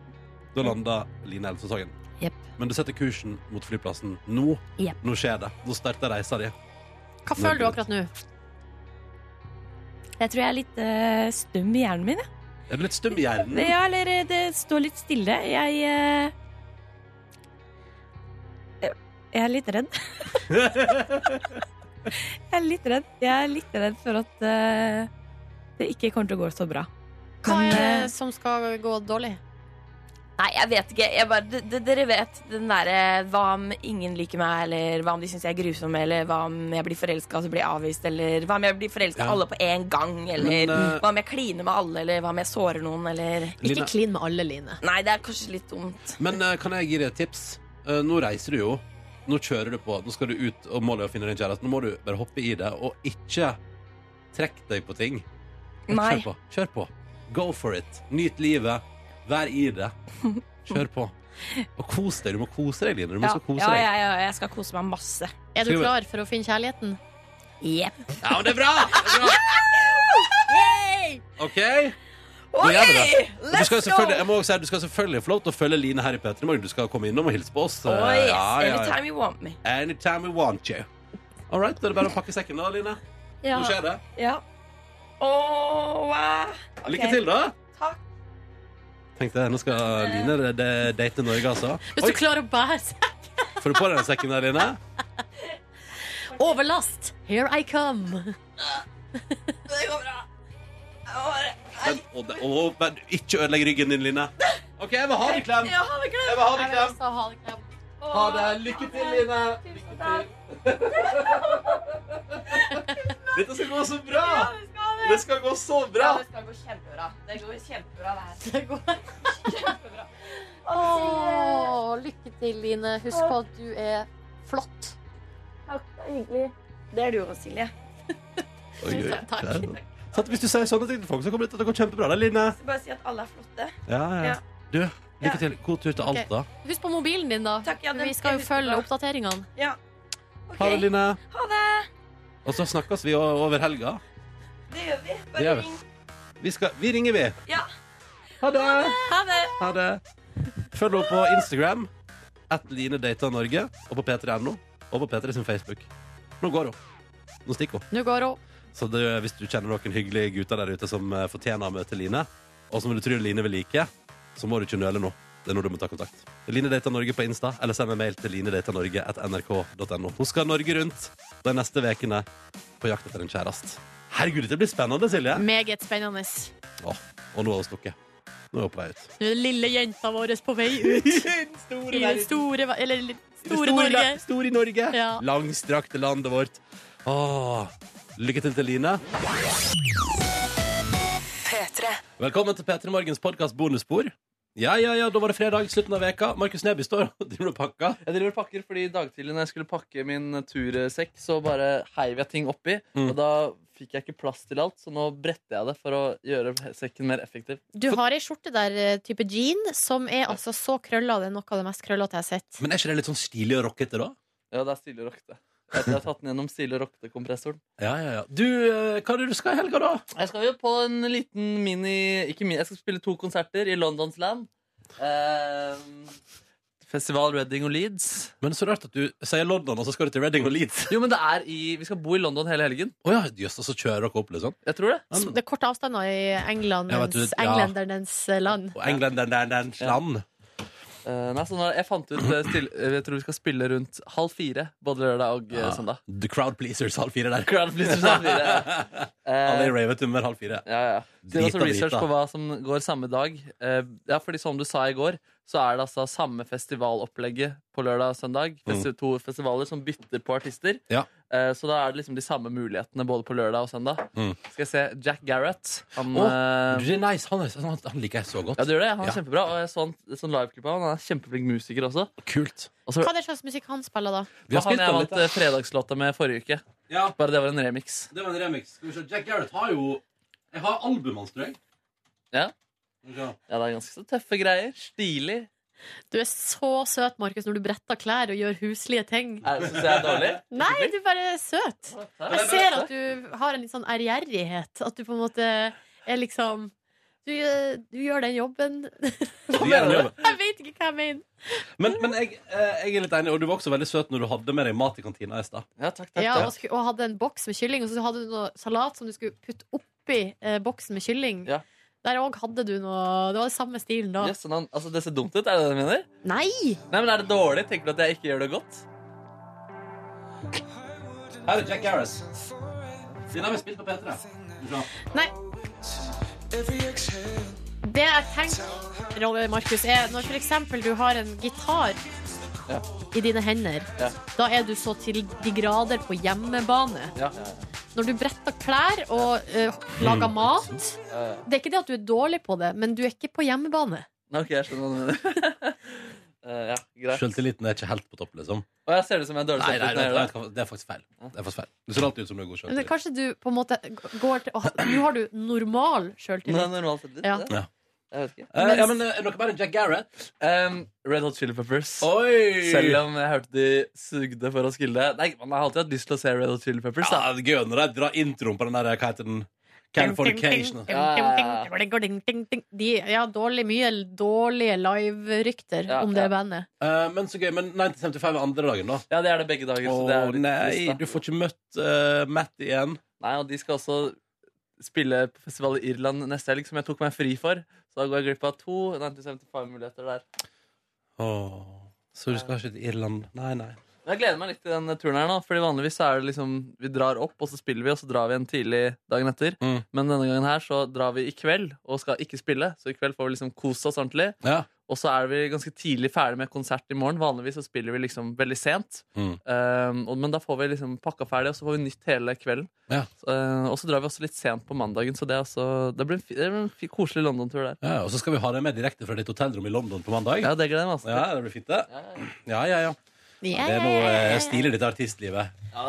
Da lander Line Elvestad Sagen.
Jepp.
Men du setter kursen mot flyplassen nå.
Jepp.
Nå skjer det. Nå starter reisa di.
Hva føler du akkurat nå?
Jeg tror jeg er litt eh, stum i hjernen min. jeg.
Er du litt stum i
Mm.
hjernen?
Ja, eller eh, det står litt stille. Jeg eh, Jeg er litt redd. jeg er litt redd. Jeg er litt redd for at eh, det ikke kommer til å gå så bra. eh,
Hva er det som skal gå dårlig?
Nei, jeg vet ikke. Jeg bare, d- d- dere vet den derre Hva om ingen liker meg, eller hva om de syns jeg er grusom, eller hva om jeg blir forelska og så blir jeg avvist, eller hva om jeg blir forelska
Ja.
alle på en gang, eller
Men, eh,
hva om jeg kliner med alle, eller hva om jeg sårer noen, eller
Ikke Line-
klin med alle, Line.
Nei, det er kanskje litt dumt.
Men eh, kan jeg gi deg et tips? Eh, nå reiser du jo. Nå kjører du på. Nå skal du ut og målet er å finne din kjæreste. Nå må du bare hoppe i det, og ikke trekk deg på ting. Bare
Nei.
Kjør på. Kjør på. Go for it. Nyt livet. Vær i det. Kjør på. Og kos deg. Du må kose deg, Line. Du må
Ja,
også kose
ja,
deg.
ja, ja, jeg skal kose meg masse.
Er du Skal vi- klar
for å finne kjærligheten?
Jepp.
Ja, men det er bra! Det er bra. OK? Nå
Ok,
gjør vi det. Og Du
let's
skal
go!
selvfølgelig, jeg må også si, at du skal selvfølgelig få lov til å følge Line her i P3 Morgen. Du skal komme innom og hilse på oss.
Oh,
Eh,
yes.
ja, ja, ja.
Anytime you want me.
Anytime we want you. All right, da er det bare å pakke sekken da, Line.
Ja.
Nå skjer det.
Ja. Åh, wow. Ok.
Lykke til, da.
Takk.
Tenkte jeg, Nå skal Line re- de- date Norge, altså.
Hvis du klarer å bære seg.
Får du på deg den sekken der, Line?
Overlast! Here I come.
Det går bra.
Men, og det, og, men ikke ødelegg ryggen din, Line. OK, jeg vil ha deg klem.
Ja, ha det klem.
Jeg vil ha deg klem.
Ha det klem.
Ha det. Lykke til, Line. Lykke til. Dette skal gå så bra. Det skal gå så bra.
Ja, det skal gå kjempebra. Det går kjempebra, det her.
Åh, lykke til, Line. Husk på at du er flott.
Takk, det er hyggelig. Det er du også, Silje.
Oi, oi.
Takk.
Sant, Hvis du sier sånne ting til folk, så kommer det til å gå kjempebra. Da, Line.
Bare si at alle er flotte.
Ja, ja.
Ja.
Du, lykke til. God tur til
Ok.
Alta.
Husk på mobilen din, da. Vi skal jo følge oppdateringene.
Ha det, Line.
Ha det!
Og så snakkes vi o- over helga.
Det gjør vi.
Det gjør vi. Vi, skal, vi ringer, vi.
Ja.
Ha det!
Ha det!
Ha det. Følg henne på Instagram, at Line Data Norge, og på p3.no, og på P3 sin Facebook. Nå går hun. Nå stikker hun.
Nå går hun.
Så det, hvis du kjenner noen hyggelige gutter der ute som eh, fortjener å møte Line, og som du tror Line vil like, så må du ikke nøle nå. Det er nå du må ta kontakt. Line Data Norge på Insta, eller send en mail til linedatanorge.nrk.no. Hun skal Norge rundt de neste ukene på jakt etter en kjæreste. Herregud, dette blir spennende, Silje.
Meget spennende.
Åh, og nå har hun stukket. Nå er hun på vei ut.
Nå er den lille jenta vår på vei ut. I den store, ver- eller li- store
Store
Norge.
la- store Norge.
Ja.
Langstrakte landet vårt. Åh, lykke til til Line. Velkommen til P3 Morgens podkast Bonusspor. Ja, ja, ja, da var det fredag, slutten av veka. Markus Neby står og driver og pakker.
Jeg driver og pakker fordi i dag tidlig når jeg skulle pakke min tursekk, så bare heiv jeg ting oppi.
Mm.
Og da fikk jeg ikke plass til alt, så nå bretter jeg det for å gjøre sekken mer effektiv.
Du har ei skjorte der, eh, type jean, som er altså så krølla. Det er noe av det mest krøllete jeg har sett.
Men er ikke det litt sånn stilig og rockete, da?
Ja, det er stille og rokte. Jeg jeg har tatt den gjennom stille og rokte-kompressoren.
Ja, ja, ja. Du, eh, hva er det du skal i helga, da?
Jeg skal jo på en liten mini Ikke mini, jeg skal spille to konserter i Londons land. Ehm, Festival Reading og Leeds.
Men så rart at du sier London, og så skal du til Reading og Leeds.
Jo, men det er i Vi skal bo i London hele helgen.
Å ja, jøss, og så kjører dere opp, liksom?
Jeg tror det.
Det er korte avstander i England,
Ja, vet du,
mens
ja.
englendernes eh, land.
Og englenderen land.
nei, så nå- jeg fant ut eh, still, eh, Jeg tror vi skal spille rundt halv fire både lørdag og eh,
Ja,
søndag.
The Crowd Pleasers halv fire der.
Crowd Pleasers halv fire, Eh,
ja. Alle i ravetummer halv fire.
Ja, ja. Det er også sånn research på hva som går samme dag. Eh, ja, fordi som du sa i går, så er det altså samme festivalopplegget på lørdag og søndag. Festi To festivaler som bytter på artister.
Mm. Ja.
Eh, så da er det liksom de samme mulighetene både på lørdag og søndag.
Mm.
Skal jeg se Jack Garrett. Han,
Å,
eh,
det er nice. han, er- sånn han, han liker jeg så godt.
ja, det gjør det. Han er
Ja.
kjempebra. Og jeg så han, sånn liveklipp av han. Han er kjempeflink musiker også.
Kult.
Og så,
Hva er det slags musikk han spiller, da?
Vi har
han
spilt
jeg
han litt,
vant eh, fredagslåta med forrige uke. Bare det var en remix.
Det var en remix. Skal vi se. Jack Garrett har jo Jeg har albumet hans, tror jeg.
Ja.
ja,
det er ganske så tøffe greier. Stilig.
Du er så søt, Markus, når du bretter klær og gjør huslige ting.
Er- Syns jeg er dårlig?
Nei, du bare er søt. Jeg ser at du har en litt sånn ærgjerrighet. At du på en måte er liksom Du, gjør- du gjør den jobben.
Du gjør den jobben.
Jeg vet ikke hva jeg mener.
Men, men jeg, eh, jeg er litt enig, og du var også veldig søt når du hadde med deg mat i kantina i stad.
Ja, takk,
Ja, og, sku- og hadde en boks med kylling, og så hadde du noe salat som du skulle putte opp oppi eh, boksen med kylling.
Ja.
Der òg hadde du noe Det var det samme stilen da.
Yes, sånn han, altså, det ser dumt ut, er det det du mener?
Nei!
Nei, men Er det dårlig? Tenker du at jeg ikke gjør det godt?
Her er Jack Harris. Siden har vi spilt på P3. Bra.
Nei. Det jeg tenker, Rolle Markus, er når for eksempel du har en gitar
Ja.
i dine hender,
Ja.
da er du så til de grader på hjemmebane.
Ja. ja.
Når du bretter klær og eh, lager
Mm.
mat
ja.
Det er ikke det at du er dårlig på det, men du er ikke på hjemmebane.
Nei, OK, jeg skjønner hva du mener. Eh, ja, greit.
Selvtilliten er ikke helt på topp, liksom.
Og jeg ser ut som en dårlig
Nei, nei,
selvtillit når jeg gjør det.
nei, det er faktisk feil. Det er faktisk feil. Du ser alltid ut som du er god
Men det,
sjøltillit.
kanskje du på en måte går til å, Nå har du normal
Nei,
sjøltillit.
normal selvtillit.
Ja.
det. Jeg vet ikke.
Eh, ja, men, eh, er det noe mer enn Jack Garrett?
Um, Red Hot Chili Peppers.
Oi!
Selv om jeg hørte de sugde for å skille Nei, Man har alltid hatt lyst til å se Red Hot Chili Peppers. Da.
Ja, det er gøy når de drar introen på den der eh, Hva heter den? Californication.
De ja, dårlig, mye dårlige live-rykter
Ja,
om det
ja.
bandet.
Eh, men så gøy. Men 1975 er andre dagen, da.
Ja, det er det begge dager.
Å
så det er jo litt trist,
nei,
da.
du får ikke møtt
uh,
eh, Matt igjen.
Nei, og de skal også spille på festival i Irland neste helg, som jeg tok meg fri for. Så da går jeg glipp av to 1975-muligheter der.
Åh, så du skal ikke til Irland? Nei, nei.
Men jeg gleder meg litt til den turen her nå, fordi vanligvis så er det liksom Vi drar opp, og så spiller vi, og så drar vi en tidlig dagen etter. Men denne gangen her så drar vi i kveld, og skal ikke spille. Så i kveld får vi liksom kose oss ordentlig. Og så er vi ganske tidlig ferdig med konsert i morgen. Vanligvis så spiller vi liksom veldig sent.
Mm.
Um, og, men da får vi liksom pakka ferdig, og så får vi nytt hele kvelden.
Ja.
Så, eh, og så drar vi også litt sent på mandagen, så det, er også, det blir en, fi- det blir en fi- koselig London-tur der.
Ja, og så skal vi ha deg med direkte fra ditt hotellrom i London på mandag.
Ja, det gleder jeg meg også til.
Ja, det blir fint, det. Ja, ja, ja. Det er noe eh, stilig, dette artistlivet.
Ja,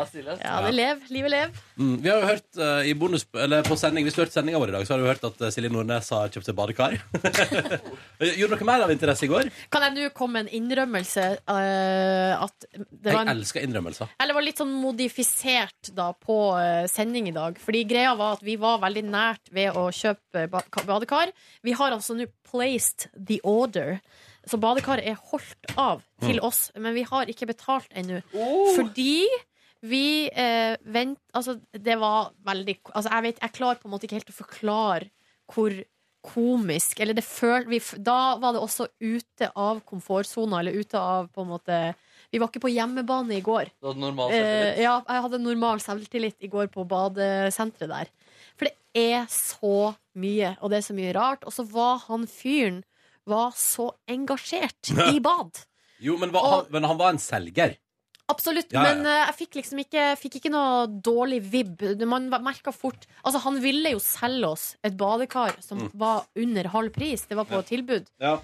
det lev. Livet lev.
Mm, vi har jo hørt eh, i bonus, eller på sending, Hvis du har hørt sendinga vår i dag, så har du hørt at eh, Silje Nordnes har kjøpt seg badekar. Eh, Gjorde dere mer av interesse i går?
Kan jeg nå komme med en innrømmelse? eh, at det var
Jeg
en
elsker innrømmelser.
Eller det var litt sånn modifisert da på eh, sending i dag. Fordi greia var at vi var veldig nært ved å kjøpe ba- ka- badekar. Vi har altså nå placed the order. Så badekaret er holdt av til
Mm.
oss, men vi har ikke betalt ennå. Fordi vi eh, vent... Altså, det var veldig altså, jeg, vet, jeg klarer på en måte ikke helt å forklare hvor komisk Eller det føl, vi, f- Da var det også ute av komfortsona, eller ute av på en måte Vi var ikke på hjemmebane i går.
Du hadde normal
Eh,
selvtillit.
ja, jeg hadde normal selvtillit i går på badesenteret der. For det er så mye, og det er så mye rart. Og så var han fyren var så engasjert i bad.
Jo, men, hva, han, men han var en selger.
Absolutt,
Ja, ja.
men eh, jeg fikk liksom ikke, fikk ikke noe dårlig vibb. Man merka fort Altså, han ville jo selge oss et badekar som
Mm.
var under halv pris. Det var på tilbud.
Ja.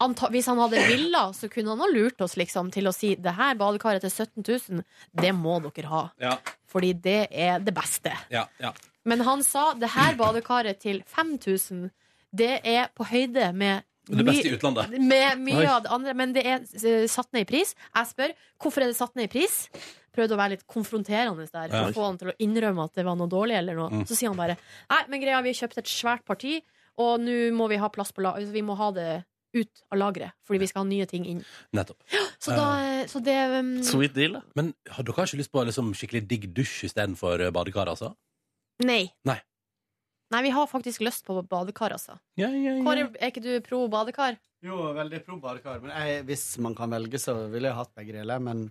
Anta hvis han hadde villa, så kunne han ha lurt oss liksom til å si det her badekaret til 17 000, det må dere ha.
Ja,
Fordi det er det beste.
ja, ja.
Men han sa det her badekaret til 5000, det er på høyde med
Det
my-
beste i utlandet.
Med mye
Oi.
av det andre, men det er eh, satt ned i pris. Jeg spør hvorfor er det satt ned i pris. Prøvde å være litt konfronterende der for
Ja.
å få han til å innrømme at det var noe dårlig. eller noe.
Mm.
Så sier han bare nei, men greia, vi har kjøpt et svært parti, og nå må vi ha plass på la altså, vi må ha det ut av lageret, fordi vi skal ha nye ting inn.
Nettopp. Eh,
Så, da, så det um,
deal, da.
Men har dere ikke lyst på liksom, skikkelig digg dusj istedenfor eh, badekar, altså?
Nei.
Nei.
Nei, vi har faktisk lyst på badekar, altså.
Ja, ja, ja.
Kåre, er ikke du pro badekar?
Jo, veldig pro badekar. Men jeg, hvis man kan velge, så ville jeg hatt begge deler. Men,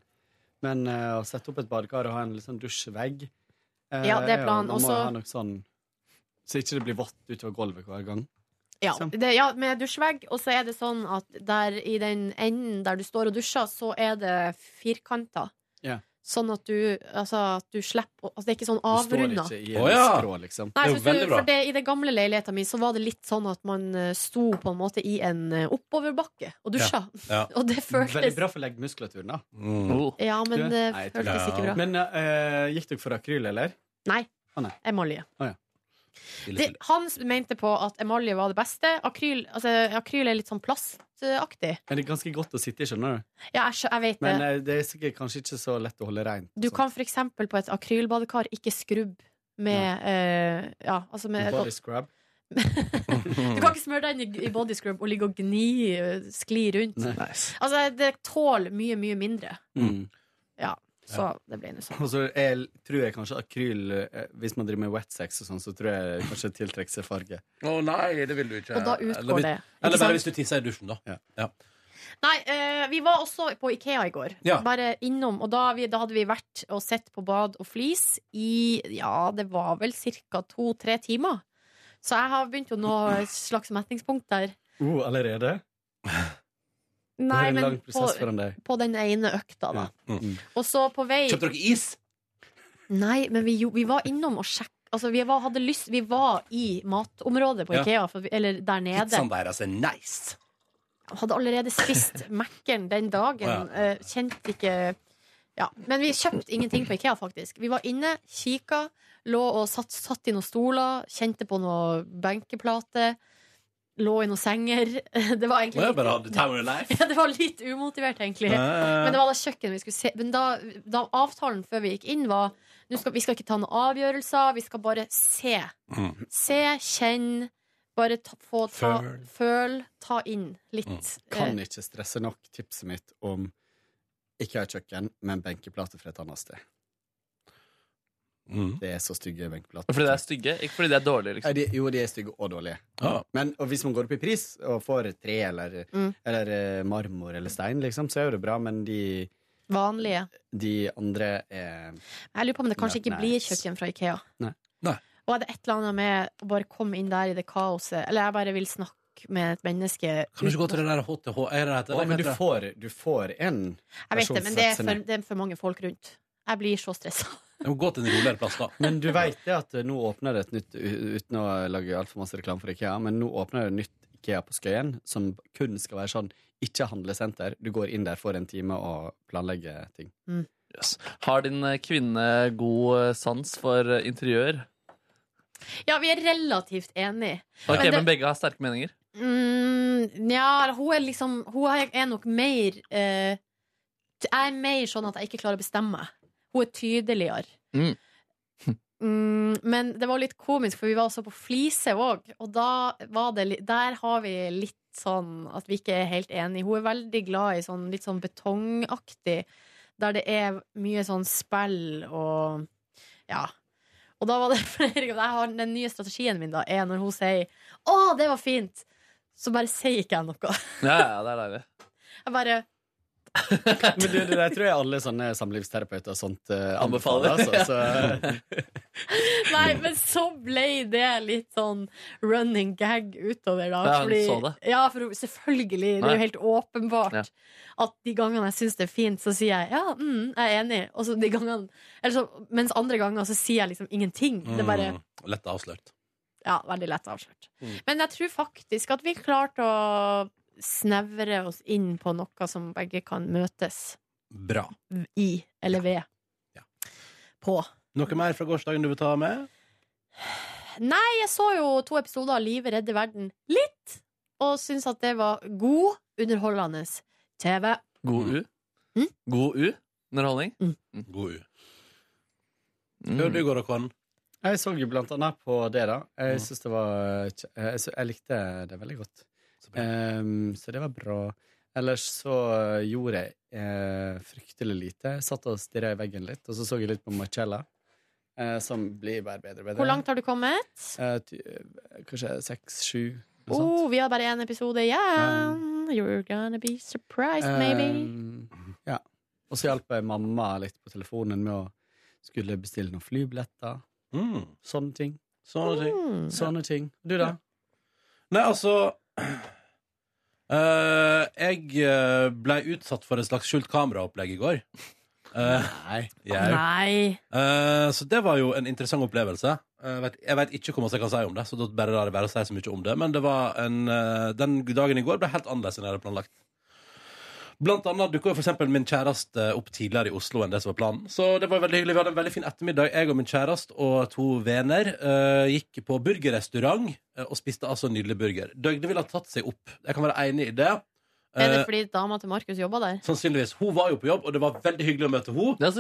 men eh, å sette opp et badekar og ha en litt sånn dusjvegg eh,
Ja, det er planen.
Man må
Også-
ha noe sånn så ikke det blir vått utover gulvet hver gang.
Ja, det, ja med dusjvegg. Og så er det sånn at der i den enden der du står og dusjer, så er det firkanter.
Ja.
Sånn at du, altså, at du slipper å- altså, Det er ikke sånn
Du står
avrunda.
ikke i en
Å, ja.
skrå, liksom.
Nei, jeg synes du, for det, I den gamle leiligheta mi så var det litt sånn at man eh, sto på en måte i en eh, oppoverbakke og dusja.
Ja.
Og det føltes Oh.
Veldig bra for leggmuskulaturen, da.
Mm.
Ja, men
Du-
det
Nei, jeg
føltes
tror-
ikke bra.
Men eh, gikk dere for akryl, eller?
Nei.
Å, nei.
Emalje.
Å, ja.
Det, han mente på at emalje var det beste. Akryl, altså, akryl er litt sånn plastaktig.
Men det er ganske godt å sitte i, skjønner du.
Ja, jeg, skjø- jeg vet det.
Men sånn. eh, det er sikkert kanskje ikke så lett å holde altså. reint.
Du kan for eksempel på et akrylbadekar ikke skrubbe med eh, Ja, altså med
Body scrub.
Du kan ikke smøre deg inn i- i body scrub og ligge og gni, eh, skli rundt.
Nice.
Altså, det tåler mye, mye mindre.
Mm.
Ja. Så det ble nå sånn.
Og så er- tror jeg kanskje akryl eh, Hvis man driver med wet sex og sånn, så tror jeg kanskje det tiltrekker seg farge.
Å nei, det vil du ikke.
Og da utgår
eller, hvis-
det, ikke
Eller
sant?
bare hvis du tisser i dusjen, da. Ja.
Nei, eh, vi var også på Ikea i går.
Ja.
Bare innom. Og da, vi, da hadde vi vært og sett på bad og flis i ja, det var vel ca. to-tre timer. Så jeg har begynt å nå et slags metningspunkt der.
Oh, allerede?
Nei,
det er en
men
lang
på,
prosess foran deg.
på den ene økta, da.
Mm.
Og så på vei
Kjøpte
dere is?
Nei, men vi, jo, vi var innom og sjekka. Altså, vi, var, hadde lyst, vi var i matområdet på
Ja. sånn
Ikea, for vi, eller der nede.
Pizzaen deres er nice.
Hadde allerede spist Mac-en den dagen.
Å,
eh, Kjente ikke ja. Men vi kjøpte ingenting på Ikea, faktisk. Vi var inne, kikka, lå og satt, satt i noen stoler, kjente på noen benkeplater. Lå i noen senger. Det var egentlig
Må jeg bare ha the time of your life?
ja, det var litt umotivert, egentlig.
Ja, ja, ja.
Men det var da kjøkkenet vi skulle se. Men da, da avtalen før vi gikk inn, var nå skal, vi skal ikke ta noen avgjørelser, vi skal bare se. Se, kjenn, bare ta, få ta
Føl.
Føl, ta inn litt.
Mm.
Mm.
Kan
Eh,
ikke stresse nok tipset mitt om ikke ha kjøkken, men benkeplater fra et annet sted.
Mm.
Det er så stygge benkeplater.
Fordi de er stygge, ikke fordi de er dårlige.
Nei,
Liksom.
de, jo, de er stygge og dårlige.
Ah.
Men og hvis man går opp i pris og får tre eller,
Mm.
eller eh, marmor eller stein, liksom, så er jo det bra, men de,
vanlige.
de andre er
Jeg lurer på om det kanskje ikke
Nei.
blir kjøkken fra Ikea.
Nei.
Og er det et eller annet med å bare komme inn der i det kaoset, eller jeg bare vil snakke med et menneske
Kan du ikke gå til det der HTH? Er det
Å, men du får, du får en
Jeg vet det, men det er,
personsvetsende.
for, det er for mange folk rundt. Jeg blir så stressa.
Gå til en roligere plass, da.
Men du veit det at eh, nå åpner det et nytt u- Uten å lage altfor masse reklame for Ikea, men nå åpner det et nytt Ikea på Skøyen, som kun skal være sånn ikke handlesenter. Du går inn der for en time og planlegger ting.
Mm.
Yes. Har din eh, kvinne god eh, sans for eh, interiør?
Ja, vi er relativt enige.
Ok,
Men det-
Men begge har sterke meninger?
Mm, ja, hun er liksom Hun er- er nok mer eh, t- Jeg er mer sånn at jeg ikke klarer å bestemme meg. Hun er tydeligere.
Mm.
Mm, men det var litt komisk, for vi var også på Flise òg, og da var det li- Der har vi litt sånn at vi ikke er helt enige. Hun er veldig glad i sånn litt sånn betongaktig, der det er mye sånn spill og Ja. Og da var det flere ganger jeg har, Den nye strategien min da er når hun sier 'Å, det var fint', så bare sier ikke jeg noe.
Ja, ja, det er deilig.
Jeg bare
Men du, det der tror jeg alle sånne samlivsterapeuter og sånt eh,
Anbefaler.
anbefaler. Altså, så,
Nei, men så ble det litt sånn running gag utover, da.
Ja, hun så det.
ja, for hun- selvfølgelig. Det er jo
Nei.
helt åpenbart at de gangene jeg syns det er fint, så sier jeg ja, mm, jeg er enig. Og så de gangene eller så, Mens andre ganger så sier jeg liksom ingenting. Det er bare
Mm, Lett avslørt.
ja, veldig lett avslørt.
Mm.
Men jeg tror faktisk at vi klarte å snevre oss inn på noe som begge kan møtes
Bra.
i eller ved. På.
Noe mer fra gårsdagen du vil ta med?
Nei, jeg så jo to episoder av Livet redder verden litt, og syns at det var god, underholdende TV.
Mm.
God U?
Mm.
God U? Underholdning? Mm.
God U. Hør du går, Mm. Håkon.
jeg så jo blant annet på det, da. Jeg synes det var kje- jeg, sy- jeg likte det veldig godt. Ehm, så det var bra. Ellers så gjorde jeg eh, fryktelig lite. Jeg satt og stirra i veggen litt, og så så jeg litt på Marcella. eh, som blir bare bedre og bedre.
Hvor langt har du kommet?
Eh, ty- eh, kanskje seks, sju. noe sånt.
Oh, vi har bare én episode igjen. You're gonna be surprised, maybe.
Eh, ja. Og så hjalp jeg mamma litt på telefonen med å skulle bestille noen flybilletter. Mm. Sånne ting.
Sånne ting.
Mm.
Sånne ting. Du, da?
Nei, altså eh, Jeg eh, ble utsatt for et slags skjult kameraopplegg i går. Eh,
Nei.
Nei.
så det var jo en interessant opplevelse. Eh, jeg vet- jeg vvet ikke hvor mye jeg kan si om det, så da bare lar jeg være å si så mye om det. Men det var en, eh, den dagen i går ble helt annerledes enn jeg hadde planlagt. Blant annet dukka for eksempel min kjæreste eh, opp tidligere i Oslo enn det som var planen. Så det var veldig hyggelig. Vi hadde en veldig fin ettermiddag. Jeg og min kjæreste og to venner eh, gikk på burgerrestaurant eh, og spiste altså en nydelig burger. Døgnet ville ha tatt seg opp. Jeg kan være enig i det.
Er det
Eh,
fordi dama til Markus jobba der?
Sannsynligvis. Hun var jo på jobb, og det var veldig hyggelig å møte henne. Og hun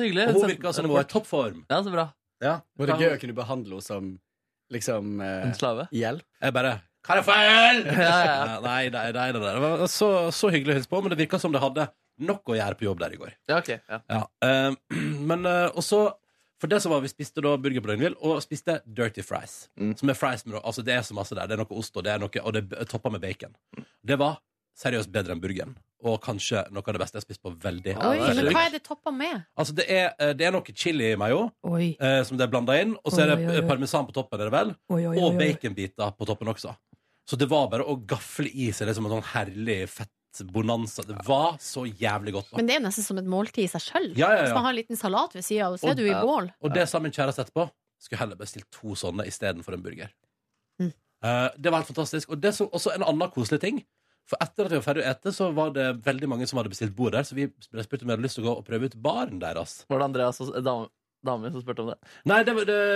virka som hun var i toppform.
Ja, så bra.
Var det gøy å kunne behandle henne som liksom eh,
En slave?
hjelp?
Jeg bare Kan jeg få øl?!
Ja, ja, ja.
Nei, nei, nei, nei, nei. Det var så, så hyggelig å hilse på, men det virka som det hadde nok å gjøre på jobb der i går.
Ja, ok. Ja.
Ja, eh, men eh, også For det som var, vi spiste da burger på Løgnvill, og spiste dirty fries. Som er fries med, altså Det er så masse der. Det er noe ost, og det er noe, og det er toppa med bacon. Det var seriøst bedre enn burgeren. Og kanskje noe av det beste jeg har spist på veldig
Oi,
veldig
men
lenge.
hva er det toppa med?
Altså, det er, eh, det er noe chili i mayo
Oi.
eh, som det er blanda inn. Og så er det
Oi, oi, oi.
parmesan på toppen, er det vel?
Oi, oi, oi,
Og
oi.
baconbiter på toppen også. Så det var bare å gafle i seg det som en sånn herlig fettbonanza. Det var så jævlig godt. da.
Men det er jo nesten som et måltid i seg sjøl.
Ja, ja, ja.
Hvis man har en liten salat ved sida av, så er du i mål.
Og det sa min kjæreste etterpå. Skulle heller bestilt to sånne istedenfor en burger.
Mm.
Eh, det var helt fantastisk. Og det som, også en annen koselig ting. For etter at vi var ferdig å ete, så var det veldig mange som hadde bestilt bord der. Så vi spurte om vi hadde lyst til å gå og prøve ut baren deres.
Var det Andreas og dame, dame som spurte om det?
Nei, det var det...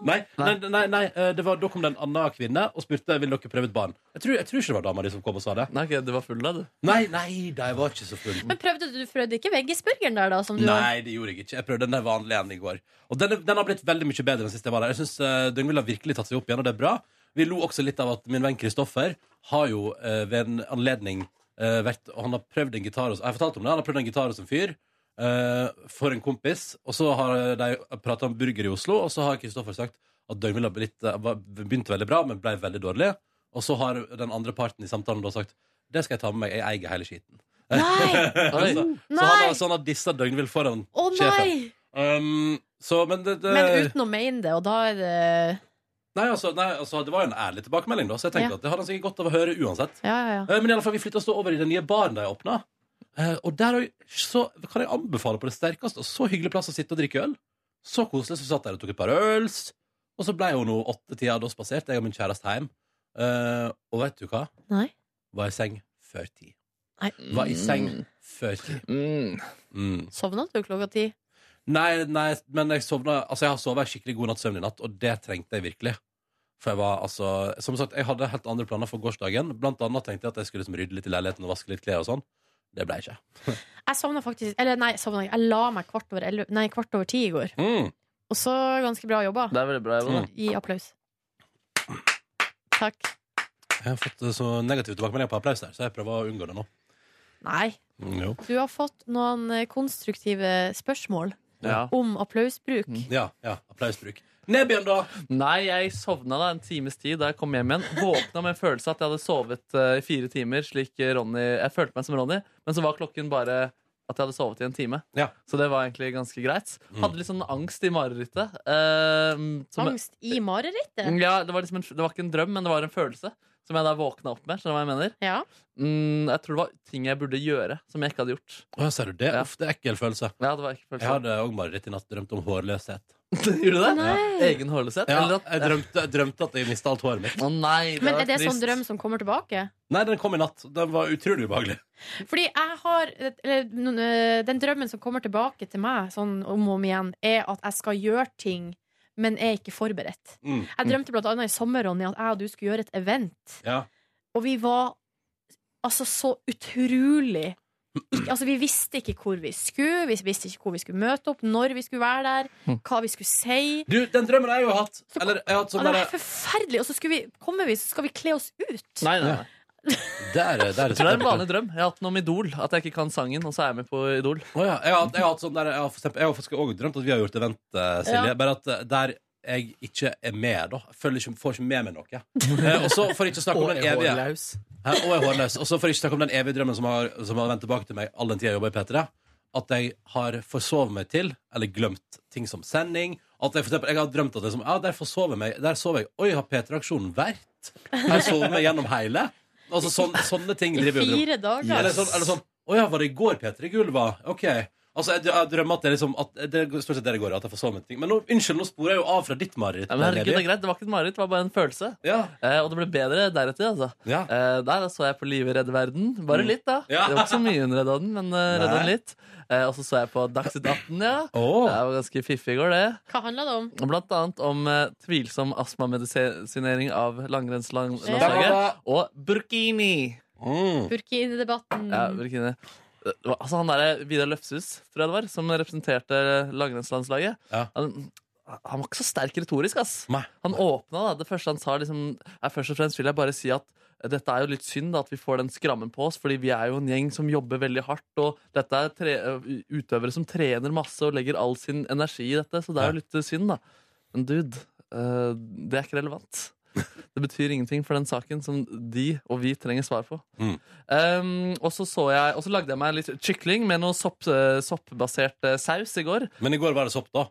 Nei, nei, nei, nei eh, det var, da kom det en annen kvinne og spurte vil dere prøve ut baren. Jeg tror, jeg tror ikke det var dama di som kom og sa det.
Nei, Du var full da, du?
Nei, nei, de var ikke så full.
Men prøvde du, du prøvde ikke veggisburgeren der, da? Som du har?
Nei, det gjorde jeg ikke. Jeg prøvde den der vanlige en i går. Og den, den har blitt veldig mye bedre enn sist jeg var der. Jeg synes uh, Den ville ha virkelig tatt seg opp igjen, og det er bra. Vi lo også litt av at min venn Kristoffer har jo eh, ved en anledning eh, vært Og han har prøvd en gitar hos Jeg har fortalt om det. Han har prøvd en gitar hos en fyr. eh, for en kompis. Og så har de prata om burger i Oslo, og så har Kristoffer sagt at døgnvilla eh, begynte veldig bra, men ble veldig dårlig. Og så har den andre parten i samtalen da sagt det skal jeg ta med meg, jeg eier hele skiten.
Nei!
så, så han har, så han Sånn har dissa døgnvill foran
Å
sjefen.
nei!
Um, så, men det, det
Men uten å mene det, og da er det
nei, altså, nei, altså, det var jo en ærlig tilbakemelding, da, så jeg tenkte
Ja.
at det hadde han sikkert godt av å høre uansett.
Ja, ja, ja.
Eh, Men i alle fall, vi flytta oss da over i den nye baren de åpna. Eh, Og der har jeg- så kan jeg anbefale på det sterkeste. Og så hyggelig plass å sitte og drikke øl. Så koselig. Så vi satt der og tok et par øls. Og så ble hun nå åttetida. Da spaserte jeg og min kjæreste hjem. Eh, og vet du hva?
Nei.
Var i seng før ti.
Nei.
Var i seng før ti. Mm.
Sovna du klokka ti?
Nei, nei, men jeg sovna Altså, jeg har sovet en skikkelig god natts søvn i natt, og det trengte jeg virkelig. For jeg var altså Som sagt, jeg hadde helt andre planer for gårsdagen. Blant annet tenkte jeg at jeg skulle liksom rydde litt i leiligheten og vaske litt klær og sånn. Det ble jeg ikke.
Jeg sovna faktisk Eller nei, sovna ikke. Jeg la meg kvart over, elleve- nei, kvart over ti i går.
Mm.
Og så ganske bra jobba.
Det er veldig bra jobba, da.
Gi applaus. Takk.
Jeg har fått eh, så negativ tilbakemelding på applaus der, så jeg prøver å unngå det nå.
Nei.
Mm, jo.
Du har fått noen eh, konstruktive spørsmål
Ja.
om applausbruk.
Mm. Ja, ja, applausbruk. Nebjørn, da?
Nei, jeg sovna da en times tid da jeg kom hjem igjen. Våkna med en følelse av at jeg hadde sovet eh, i fire timer, slik eh, Ronny Jeg følte meg som Ronny, men så var klokken bare at jeg hadde sovet i en time. Så det var egentlig ganske greit.
Mm.
Hadde litt sånn angst i marerittet. eh, som-
Angst i marerittet?
Ja, det var, liksom en, det var ikke en drøm, men det var en følelse som jeg da våkna opp med. Skjønner du hva jeg mener?
Ja.
Mm, jeg tror det var ting jeg burde gjøre, som jeg ikke hadde gjort.
Å, ser du det? Uff, det er ekkel følelse.
Ja, det var ekkel følelse.
Jeg hadde òg mareritt i natt. Drømt om hårløshet.
Gjorde du det?
Nei.
Egen hårløshet?
Ja,
Eller at-
jeg drømte, jeg drømte at jeg mista alt håret mitt.
Å nei,
Men er det sånn drøm som kommer tilbake?
Nei, den kom i natt. Den var utrolig ubehagelig.
Fordi jeg har eller, noen, øh, Den drømmen som kommer tilbake til meg sånn om og om igjen, er at jeg skal gjøre ting, men er ikke forberedt.
Mm.
Jeg drømte blant annet i sommer, Ronny, at jeg og du skulle gjøre et event.
Ja.
Og vi var altså så utrolig ikke, altså Vi visste ikke hvor vi skulle, vi visste ikke hvor vi skulle møte opp, når vi skulle være
Mm.
der, hva vi skulle si.
Du, den drømmen har jeg jo hatt. Eller, jeg har hatt
Ja,
sånn
det
derre
var forferdelig! Og så skulle vi, kommer vi, så skal vi kle oss ut.
Nei, nei, nei.
Der, der,
jeg tror det er en vanlig drøm. Jeg har hatt den om Idol. At jeg ikke kan sangen, og så er jeg med på Idol.
Å ja, jeg, har, hatt- jeg har hatt sånn der Jeg har, for eksempel, jeg har faktisk også drømt at vi har gjort event, eh, Silje.
Ja.
Bare at eh, der jeg ikke er med, da. Føler ikke, får ikke med meg noe. Eh, og så får jeg ikke snakke om
Og
den
er
evige
hårløs.
Hæ, Og er hårløs. Og så får jeg ikke snakke om den evige drømmen som har, som har vendt tilbake til meg all den tida jeg jobber i P3. At jeg har forsovet meg til, eller glemt ting som sending. At jeg, for eksempel, jeg har drømt at liksom, ja, der forsov jeg meg. Der sov jeg. Oi, har P3-aksjonen vært? Her sov jeg meg gjennom hele. Altså sånn, sånne ting
I
driver jeg og drømmer.
fire dager.
Eller sånn, eller sånn Å ja, var det i går P3 Gull var? Ok. Altså, jeg, jeg drømmer at det er liksom at det, er Stort sett det det går i, at jeg får så mye ting. Men nå, unnskyld, nå sporer jeg jo av fra ditt mareritt.
Ja, men herregud, det
Lady.
er greit. Det var ikke et mareritt, det var bare en følelse. Eh, og det ble bedre deretter, altså. Eh, der da så jeg på Live redde verden. Bare
Mm.
litt, da.
Ja.
Det var ikke så mye hun redda den, men eh, redda
Nei.
den litt. Eh, og så så jeg på Dagsnytt 18, ja. Det var ganske fiffig i går, det.
Hva handla det om?
Blant annet om eh, tvilsom astmamedisinering av
Ja.
langrennslandslaget. Og burkini.
Mm.
Burkinedebatten.
Mm. Ja, burkini. Det var- eh, Altså, eh, han derre Vidar Løfshus, tror jeg det var, som representerte langrennslandslaget. Han, han var ikke så sterk retorisk, ass. Han åpna, da. Det første han sa, liksom er Først og fremst vil jeg bare si at eh, dette er jo litt synd da, at vi får den skrammen på oss, fordi vi er jo en gjeng som jobber veldig hardt, og dette er tre eh, utøvere som trener masse og legger all sin energi i dette, så det er jo litt eh, synd, da. Men dude, eh, det er ikke relevant. Det betyr ingenting for den saken som de og vi trenger svar på. Um, og så så jeg Og så lagde jeg meg litt kykling med noe sopp, eh, soppbasert eh, saus i går.
Men i går var det sopp, da?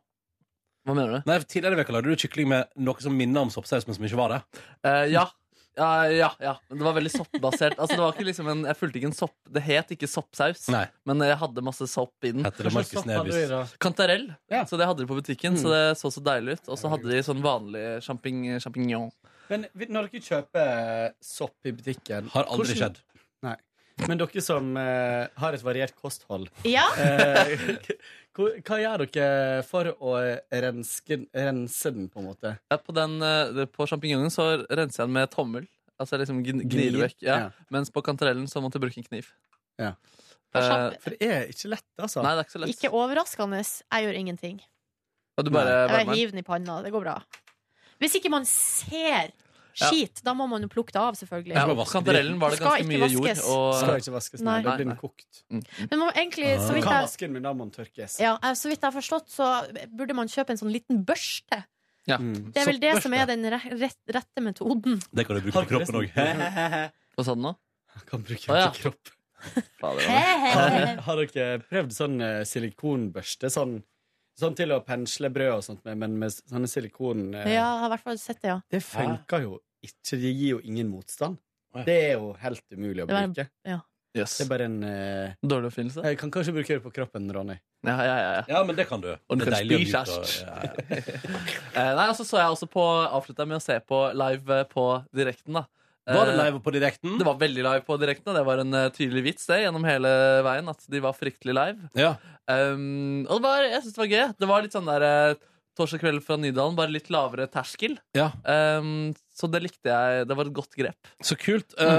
Hva mener du?
Nei, Tidligere i veka lagde du kykling med noe som minner om soppsaus, men som ikke var det.
Eh, ja. ja, ja, ja. Men Det var veldig soppbasert. Altså, det var ikke liksom en, jeg fulgte ikke en sopp. Det het ikke soppsaus,
Nei.
men jeg hadde masse sopp i den.
Heter det Marcus Hva slags sopp hadde Nevis? du i da?
Kantarell. Så det hadde de på butikken,
Mm.
så det så så deilig ut. Og så hadde de sånn vanlig champign- champignon.
Men vi- når dere kjøper eh, sopp i butikken
Har aldri
hvordan-
skjedd.
Nei. Men dere som eh, har et variert kosthold
Ja.
eh, hva, hva gjør dere for å renske, rense den, på en måte?
Ja, på den, eh, på champinjongen så renser jeg den med tommel. Altså jeg liksom gn- gnir
Gnir,
det vekk. Ja.
ja.
Mens på kantarellen så måtte jeg bruke en kniv.
Ja.
Eh,
For det er ikke lett, altså.
Nei, det er ikke så lett.
Ikke overraskende. Jeg gjør ingenting.
Og du bare varmer
Jeg bare
den.
hiver den i panna. Det går bra. Hvis ikke man ser
Ja.
skit, da må man jo plukke det av, selvfølgelig.
Ja, og på kantarellen var det
Skal
ganske
ikke
mye jord.
vaskes.
Og...
Skal ikke vaskes, nei. Da blir den kokt.
Men man, egentlig,
Ah.
så
Du
vidt
kan
jeg
vaske den, men da må den tørkes.
ja, eh, så vidt jeg har forstått, så burde man kjøpe en sånn liten børste.
Mm.
Det er vel det som er den re rett, rette metoden.
Det kan du bruke på kroppen òg.
Hva sa du nå?
Kan bruke
Å, ja.
den til kropp. Har,
Fader.
har dere prøvd sånn eh, silikonbørste? Sånn, sånn til å pensle brød og sånt med, men med s- sånne silikon...
Ja,
eh,
jeg har i hvert fall sett det, ja.
Det funker jo ikke. Det gir jo ingen motstand. Det er jo helt umulig å
Det var-
bruke.
ja.
Det er bare en eh,
Dårlig oppfinnelse.
Jeg kan kanskje bruke det på kroppen, Ronny.
Ja, ja, ja, ja.
Ja, men det kan du.
Og du
Det er
kan
deilig å
spise
nyte
æsj.
å-
Eh, Nei, altså så jeg også på Avslutta med å se på live eh, på direkten, da.
Var det
Eh,
live på direkten?
Det var veldig live på direkten, og det var en eh, tydelig vits det gjennom hele veien. At de var fryktelig live. Um, og det var, jeg syns det var gøy. Det var litt sånn der eh, Torsdag kveld fra Nydalen, bare litt lavere terskel.
Ja.
Um, så det likte jeg. Det var et godt grep.
Så kult.
Mm.
Um,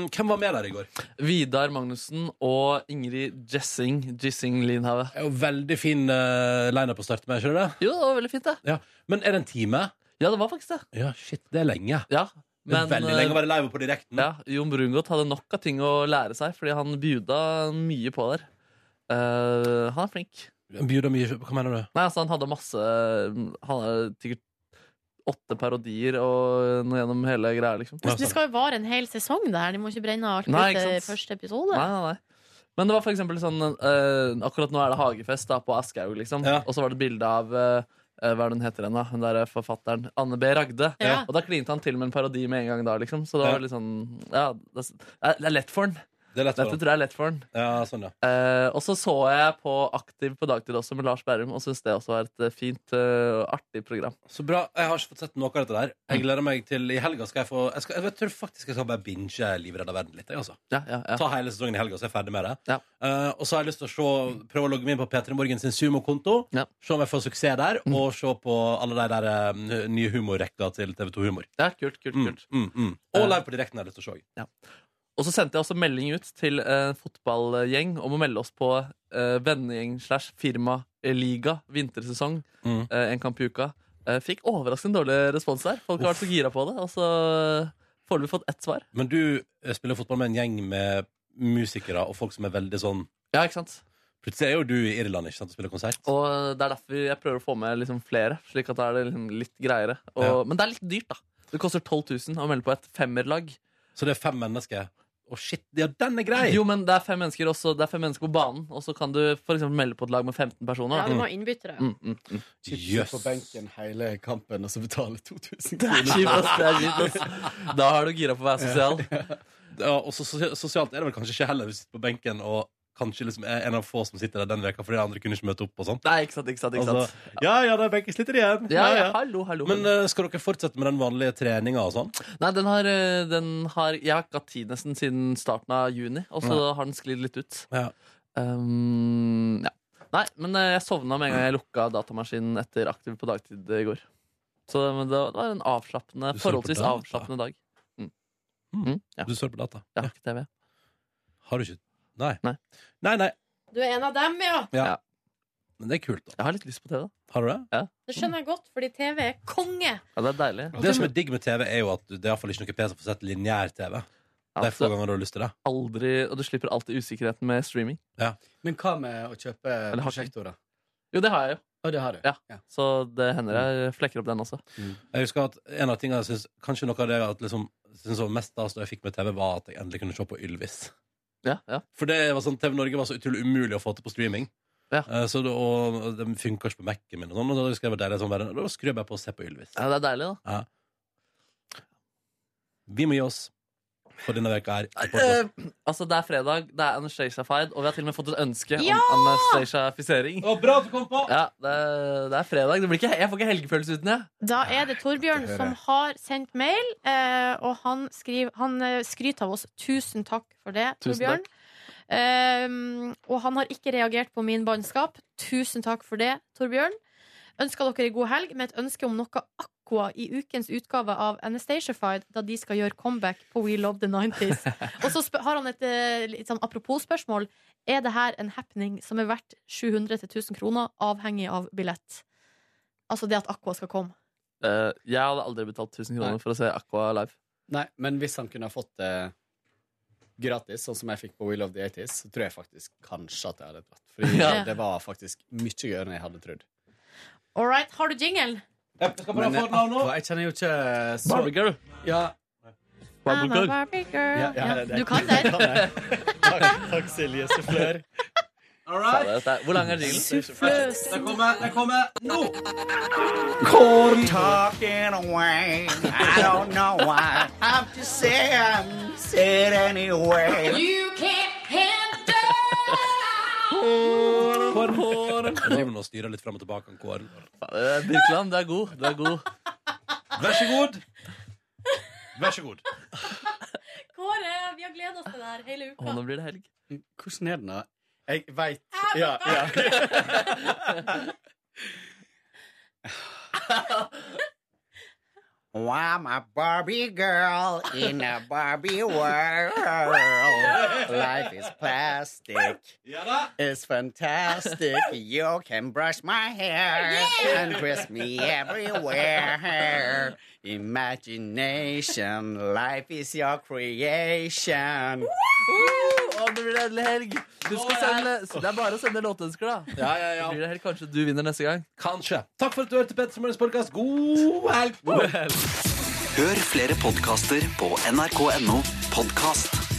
Ehm, Hvem var med der i går?
Vidar Magnussen og Ingrid Jessing. Jessing Linhave.
Veldig fin uh, lineup å starte med, ikke det?
Jo, det var veldig fint, det.
Ja. Men er det en time?
Ja, det var faktisk det.
Ja, shit, det er lenge.
Ja, eh,
Det er veldig lenge å være live på direkten.
Ja, Jon Brungot hadde nok av ting å lære seg, fordi han bjuda mye på der. Eh, han er flink.
Bjuda mye Hva mener du?
Nei, altså Han hadde masse eh, Han hadde sikkert åtte parodier og noe gjennom hele greia, liksom.
Det
altså.
skal jo vare en hel sesong, det her. De må ikke brenne alt ut
Nei, ikke
til
sant.
første episode.
Nei, nei, nei. Men det var for eksempel sånn eh, Akkurat nå er det hagefest da, på Aschehoug, liksom. Og så var det bilde av eh, eh, hva er det hun heter igjen, da? Hun der eh, forfatteren. Anne B. Ragde.
Ja.
Og da klinte han til med en parodi med en gang da, liksom. Så det var
Ja.
litt sånn Ja, det er- det er lett for han.
Det er lett for
Dette
han.
tror jeg er lett for han.
Ja, sånn, ja.
Eh, og så så jeg på Aktiv på dagtid også med Lars Berrum, og syns det også var et eh, fint eh, og artig program.
Så bra. Jeg har ikke fått sett noe av dette der.
Mm.
Jeg gleder meg til I helga skal jeg få Jeg, skal, jeg tror faktisk jeg skal bare binge Livredda verden litt. Jeg, altså. Ta hele sesongen i helga, så er jeg ferdig med det. Eh, og så har jeg lyst til å se, prøve å logge meg inn på P3 Morgen sin sumokonto. Se om jeg får suksess der,
Mm.
og se på alle de der eh, nye humorrekka til TV2 Humor.
Ja, kult, kult, kult.
Mm, mm, mm. Og live på direkten har jeg lyst til å se.
Eh, Og så sendte jeg også melding ut til en fotballgjeng om å melde oss på eh, vennegjeng slash firmaliga vintersesong.
Mm.
eh, en kamp i uka. Eh, fikk overraskende dårlig respons der. Folk har vært så gira på det. Og så får vi fått ett svar.
Men du eh, spiller fotball med en gjeng med musikere og folk som er veldig sånn
Ja, ikke sant?
Plutselig er jo du i Irland ikke sant, og spiller konsert.
Og det er derfor jeg prøver å få med liksom flere, slik at da er det liksom litt greiere. Og,
Ja.
Men det er litt dyrt, da. Det koster 12 000 å melde på et femmerlag.
Så det er fem mennesker? Å, shit, ja, den er grei!
Jo, men det er fem mennesker også Det er fem mennesker på banen, og så kan du for eksempel melde på et lag med 15 personer.
Ja,
da.
du må ha innbyttere.
Mm, mm, mm.
Chipset på benken hele kampen, og så betale 2000
Det er
kroner.
kjipt, ass. Det er kjipt, ass. Da har du gira på å være sosial.
Ja, og så, så, sosialt er det vel kanskje ikke heller. Du sitter på benken og kanskje liksom er en av få som sitter der den veka fordi de andre kunne ikke møte opp og sånn.
Nei, ikke sant, ikke sant, ikke sant.
ja, ja, da er benken sliter igjen.
Ja, ja, hallo, hallo,
Men eh, skal dere fortsette med den vanlige treninga og sånn?
Nei, den har, eh, den har Jeg har ikke hatt tid nesten siden starten av juni, og så
Ja.
har den sklidd litt ut.
Ja.
Um, ja. Nei, men eh, jeg sovna med en gang jeg lukka datamaskinen etter Aktiv på dagtid i går. Så men det var- det var en avslappende,
Du så på
forholdsvis
data?
avslappende dag. Mm. Mm, ja.
Du står på data?
Jeg har ikke TV.
Har du ikke Nei. Nei, nei.
Du er en av dem, ja.
Ja. Men det er kult, da.
Jeg har litt lyst på TV.
Har du det?
Ja.
Det skjønner jeg godt, fordi TV er konge.
Ja, det er deilig.
Det som er digg med TV, er jo at det er iallfall ikke noe PC for å sette lineær-TV. De få ganger du har lyst til det.
Aldri, og du slipper alltid usikkerheten med streaming.
Men hva med å kjøpe
Eller har ikke-
prosjektorer?
Jo, det har jeg jo.
det har du.
Ja. Så det hender jeg flekker opp den også.
Mm. Jeg husker at en av tingene jeg synes, Kanskje noe av det jeg liksom, synes var mest stas da jeg fikk med TV, var at jeg endelig kunne se på Ylvis. For det var sånn, TV Norge var så utrolig umulig å få til på streaming. Eh, Så det, og det funka ikke på Mac-en min. Og sånn, og da husker jeg det var deilig, sånn, bare, da skrur jeg bare på og ser på Ylvis.
Ja, det er deilig, da.
Ja. Vi må gi oss for denne veka her. i podcasten.
Eh, altså, det er fredag, det er Anastacia-fide, og vi har til og med fått et ønske
Ja!
om Anastacia-fisering.
Bra at du kom på!
Ja, det, det er fredag. Det blir ikke, jeg får ikke helgefølelse uten det.
Da er det Torbjørn
Det hører
som
jeg.
har sendt mail, eh, og han, skriver, han eh, skryter av oss. Tusen takk for det,
Tusen
Torbjørn.
takk.
Ehm, og han har ikke reagert på min bannskap. Tusen takk for det, Torbjørn. Ønsker dere god helg med et ønske om noe Aqua i ukens utgave av Anastatiafied, da de skal gjøre comeback på We Love the 90s. Og så spør- har han et eh, litt sånn apropos-spørsmål. Er det her en happening som er verdt 700-1000 kroner, avhengig av billett? Altså det at Aqua skal komme.
Eh, jeg hadde aldri betalt 1000 kroner
Nei.
for å se Aqua live.
Nei, men hvis han kunne ha fått det gratis, sånn som jeg fikk på Wheel of the 80s, så tror jeg faktisk kanskje at jeg hadde dratt. Fordi
Ja.
det var faktisk mye gøyere enn jeg hadde trodd.
All right, har du jingle?
Men eh, Aqua, jeg kjenner jo ikke eh, så
Barbie Girl.
Ja.
I'm a Barbie girl.
Ja, ja,
Ja,
det-
Du kan den.
kan jeg. Takk, takk, Silje Sufflør.
Hvor lang er jinglen?
Det kommer, det kommer nå!
Corn talking away. I don't know why. I'm just saying, say it anyway.
You can't handle
Kåren, kåren. Jeg driver nå og styrer litt fram og tilbake. om Kåren.
Eh, Birkeland, du er god. Du er god.
Vær så god. Vær så god.
Kåre, vi har gleda oss til det her hele uka.
nå blir det helg.
Hvordan er den, da? Jeg veit Ja, ja.
Well, I'm a Barbie girl in a Barbie world. Life is plastic.
It's fantastic.
You can brush my hair and twist me everywhere. Imagination, life is your creation.
Å, det blir det endelig helg. Du skal sende, det er bare å sende låtønsker, da.
Ja, ja, ja.
Så Blir det helg. Kanskje du vinner neste gang.
Kanskje. Takk for at du hørte Petter Morgens podkast. God helg!
God helg.
Hør flere podkaster på nrk.no podkast.